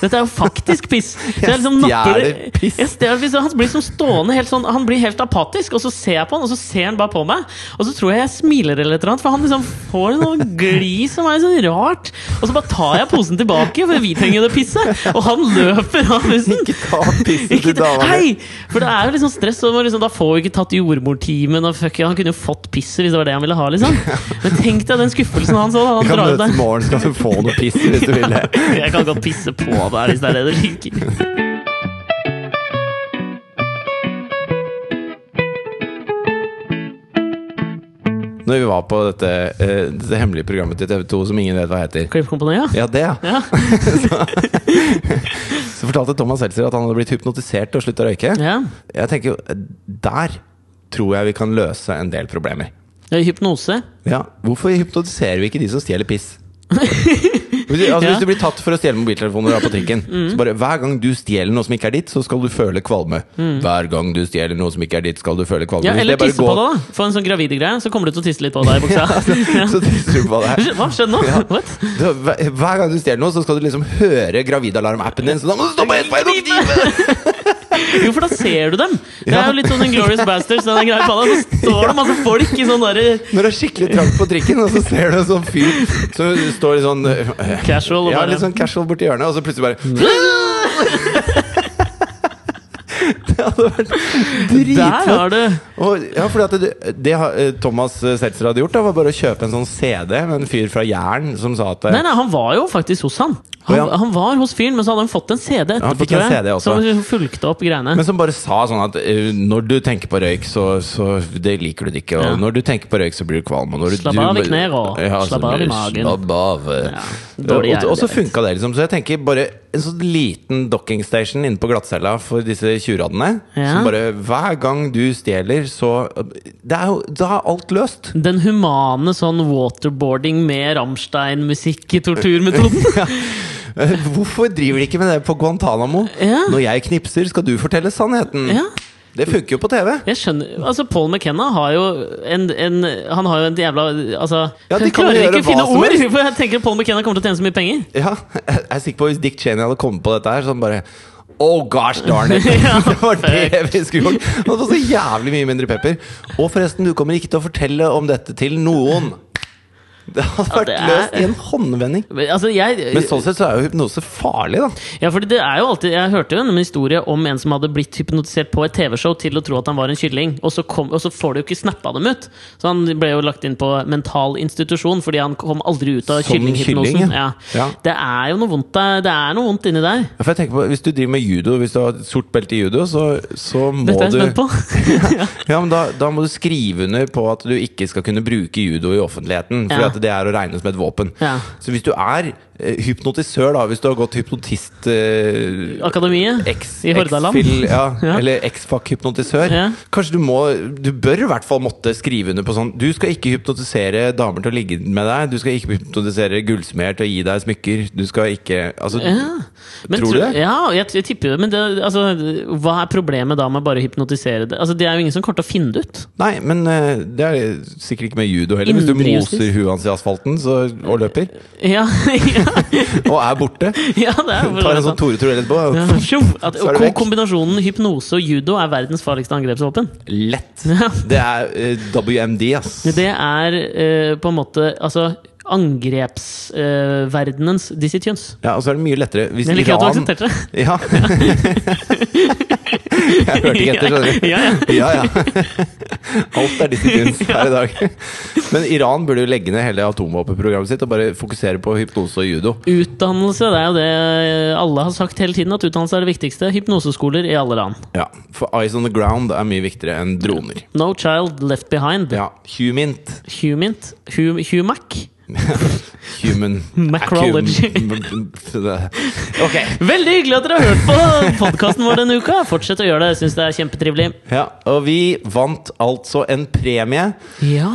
Dette er jo faktisk piss. Så jeg liksom napper stjeler piss. Jeg stjeler piss, og han blir liksom stående helt sånn Han blir helt apatisk, og så ser jeg på han, og så ser han bare på meg. Og så tror jeg jeg smiler eller et eller annet, for han liksom får noe glis som er sånn rart. Og så bare tar jeg posen tilbake, for vi trenger jo det pisset. Og han løper av bussen. Ikke ta pissen til Ikke det, dama hei! di. For det er jo liksom stress. Og man liksom, da får vi ikke tatt jordmortimen. Og fuck, han kunne jo fått pisset hvis det var det han ville ha. liksom Men tenk deg den skuffelsen han så. da, Du Han kan drar ut møtes i der. morgen, skal du få noe piss hvis du vil det. Jeg kan godt pisse på der hvis det er det du liker. Når vi var på dette, eh, dette hemmelige programmet til TV 2 som ingen vet hva heter. Klippkompaniet? Ja, det, ja. Ja. Så fortalte Thomas Seltzer at han hadde blitt hypnotisert og slutta å røyke. ja. Jeg tenker jo, eh, Der tror jeg vi kan løse en del problemer. ja. Hypnose. Ja, Hvorfor hypnotiserer vi ikke de som stjeler piss? Hvis, du- altså, Ja. Mm. hvis du blir tatt for å stjele mobiltelefoner og er på trikken Så bare Hver gang du stjeler noe som ikke er ditt, så skal du føle kvalme. Hver gang du stjeler noe som ikke er ditt, skal du føle kvalme. Mm. Ja, Hvis eller det bare tisse på går- det, da. Få en sånn gravidegreie, så kommer du til å tisse litt på deg i buksa. Så tisser du på det. Hva? Skjønn nå? Ja. What? Du, hver, hver gang du stjeler noe, så skal du liksom høre gravidalarm-appen din. Så da må du stoppe helt på en og knive! Jo, for da ser du dem! Det er Ja. jo litt sånn Inglorious Bastards. Den greia på deg, så står det masse folk i sånn derre Når det er skikkelig trangt på trikken, og så ser du en sånn fyr som står litt sånn øh, casual og Ja, bare litt sånn casual borti hjørnet, og så plutselig bare Mm. Det hadde vært Der dritfett. har du! Og, ja, fordi at det, det har- eh, Thomas Seltzer hadde gjort, da, var bare å kjøpe en sånn CD med en fyr fra Jæren som sa at eh, Nei, nei, han var jo faktisk hos han. Å, Han, ja. han var hos fyren, men så hadde han fått en CD etterpå. han fikk en tror jeg, CD også. Som liksom fulgte opp greiene. Men som bare sa sånn at eh, når du tenker på røyk, så, så det liker du det ikke. Og Ja. når du tenker på røyk, så blir du kvalm. Og når du, Slapp du, av i knær og slapp så- av i magen. Slapp av. Eh, Ja, dårlig og, og så hjerne, det funka det, liksom. Så jeg tenker bare en sånn liten docking station inne på glattcella for disse tjuvradene. Ja. Som bare hver gang du stjeler, så det er jo, Da er alt løst. Den humane sånn waterboarding med Rammstein-musikk i torturmetoden. Eh, Hvorfor driver de ikke med det på Guantánamo? Ja. Når jeg knipser, skal du fortelle sannheten. Ja. Det funker jo på TV. Jeg skjønner, altså Paul McKenna har jo en, en Han har jo en jævla Altså, Ja, de jeg kan jo klarer gjøre ikke å finne hva som ord! helst. For jeg tenker Paul McKenna kommer til å tjene så mye penger. Ja, jeg er sikker på hvis Dick Cheney hadde kommet på dette her, så han bare Oh gosh darn it! Ja, det var det vi skulle gjort! Han hadde fått så jævlig mye mindre pepper. Og forresten, du kommer ikke til å fortelle om dette til noen. Det hadde Ja, vært det er- løst i en håndvending. Men, altså, jeg, Men sånn sett så er jo hypnose farlig, da. ja, fordi det er jo alltid Jeg hørte jo en historie om en som hadde blitt hypnotisert på et TV-show til å tro at han var en kylling, og så, kom, og så får du ikke snappa dem ut. Så han ble jo lagt inn på mental institusjon fordi han kom aldri ut av Som kyllinghypnosen. kylling, ja. ja. Ja. Det er jo noe vondt der. Det er noe vondt inni der. Ja, For jeg tenker på, Hvis du driver med judo, hvis du har et sort belte i judo, så, så må Dette er sånn du jeg spent på. Ja, men da, da må du skrive under på at du ikke skal kunne bruke judo i offentligheten. For Ja. at det er å regne som et våpen. Ja. Så hvis du er eh, hypnotisør, da, hvis du har gått hypnotist eh, Akademiet Ex, i Hordaland. exfil, ja, Ja. Eller exfac-hypnotisør. Ja. Kanskje du må Du bør i hvert fall måtte skrive under på sånn Du skal ikke hypnotisere damer til å ligge med deg. Du skal ikke hypnotisere gullsmeder til å gi deg smykker. Du skal ikke Altså, Ja. Men Tror du det? Ja, jeg, jeg tipper det. Men det, altså, hva er problemet da med bare å hypnotisere det? Altså, det er jo ingen som kommer til å finne det ut. Nei, men eh, det er sikkert ikke med judo heller. Hvis du Indrejustis. moser huet hans i asfalten så, og løper, Ja, ja, og er borte ja det er Tar en sånn Tore Torell Ja, etterpå. tjo, at, Så er det ko- vekk. kombinasjonen hypnose og judo er verdens farligste angrepsvåpen. Lett! Ja. Det er eh, WMD, ass. Det er eh, på en måte altså, angrepsverdenens uh, dissytions. Ja, og så er det mye lettere hvis Jeg liker at du Iran aksepterte det. Ja. Jeg hørte ikke etter, skjønner du. Ja, ja. Ja, ja. Alt er ditt i kunst her i dag. Men Iran burde jo legge ned hele atomvåpenprogrammet sitt og bare fokusere på hypnose og judo. Utdannelse, det er jo det eh, alle har sagt hele tiden, at utdannelse er det viktigste. Hypnoseskoler i alle land. Ja, For eyes on the ground er mye viktigere enn droner. No child left behind. Ja, Humint. Humint. Hum, humac. Human Macrology. Acum- Ok. Veldig hyggelig at dere har hørt på podkasten vår denne uka. Fortsett å gjøre det. Jeg syns det er kjempetrivelig. Ja, og vi vant altså en premie Ja.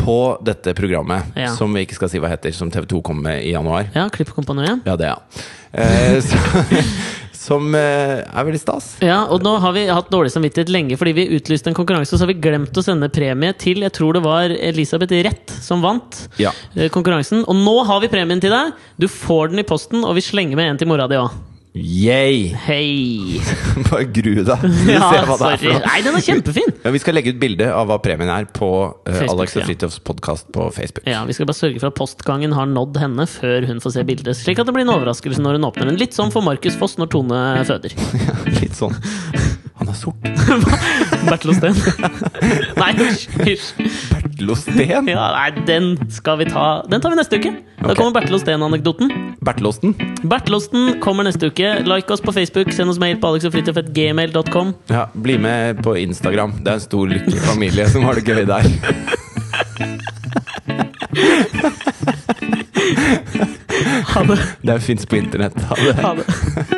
på dette programmet, Ja. som vi ikke skal si hva heter, som TV 2 kom med i januar. ja Klippkompaniet. Ja, det, ja. Eh, så, som eh, er veldig stas. Ja, og nå har vi hatt dårlig samvittighet lenge fordi vi utlyste en konkurranse, og så har vi glemt å sende premie til jeg tror det var Elisabeth Rett som vant Ja. eh, konkurransen. Og nå har vi premien til deg! Du får den i posten, og vi slenger med en til mora di òg. Yay! Hei! Bare grue deg. Du Ja, ser hva det er for sorry. noe. Nei, den er kjempefin! Ja, vi skal legge ut bilde av hva premien er på eh, Facebook, Alex og ja. Fridtjofs podkast på Facebook. Ja, Vi skal bare sørge for at postgangen har nådd henne før hun får se bildet. Slik at det blir en overraskelse når hun åpner den. Litt som for Markus Foss når Tone føder. Litt sånn Han er sort. Bertil Osten. Nei, hysj! hysj. Bertil Osten. Ja, nei, den skal vi ta Den tar vi neste uke. Da Ok. kommer Bertil Osten-anekdoten. Bertil Osten. Bertelosten kommer neste uke. Like oss på Facebook. Send oss mail på alexogfritjof.gmail.com. Ja, bli med på Instagram. Det er en stor, lykkelig familie som har det gøy der. Ha det. Det fins på internett. Ha det. Ha det.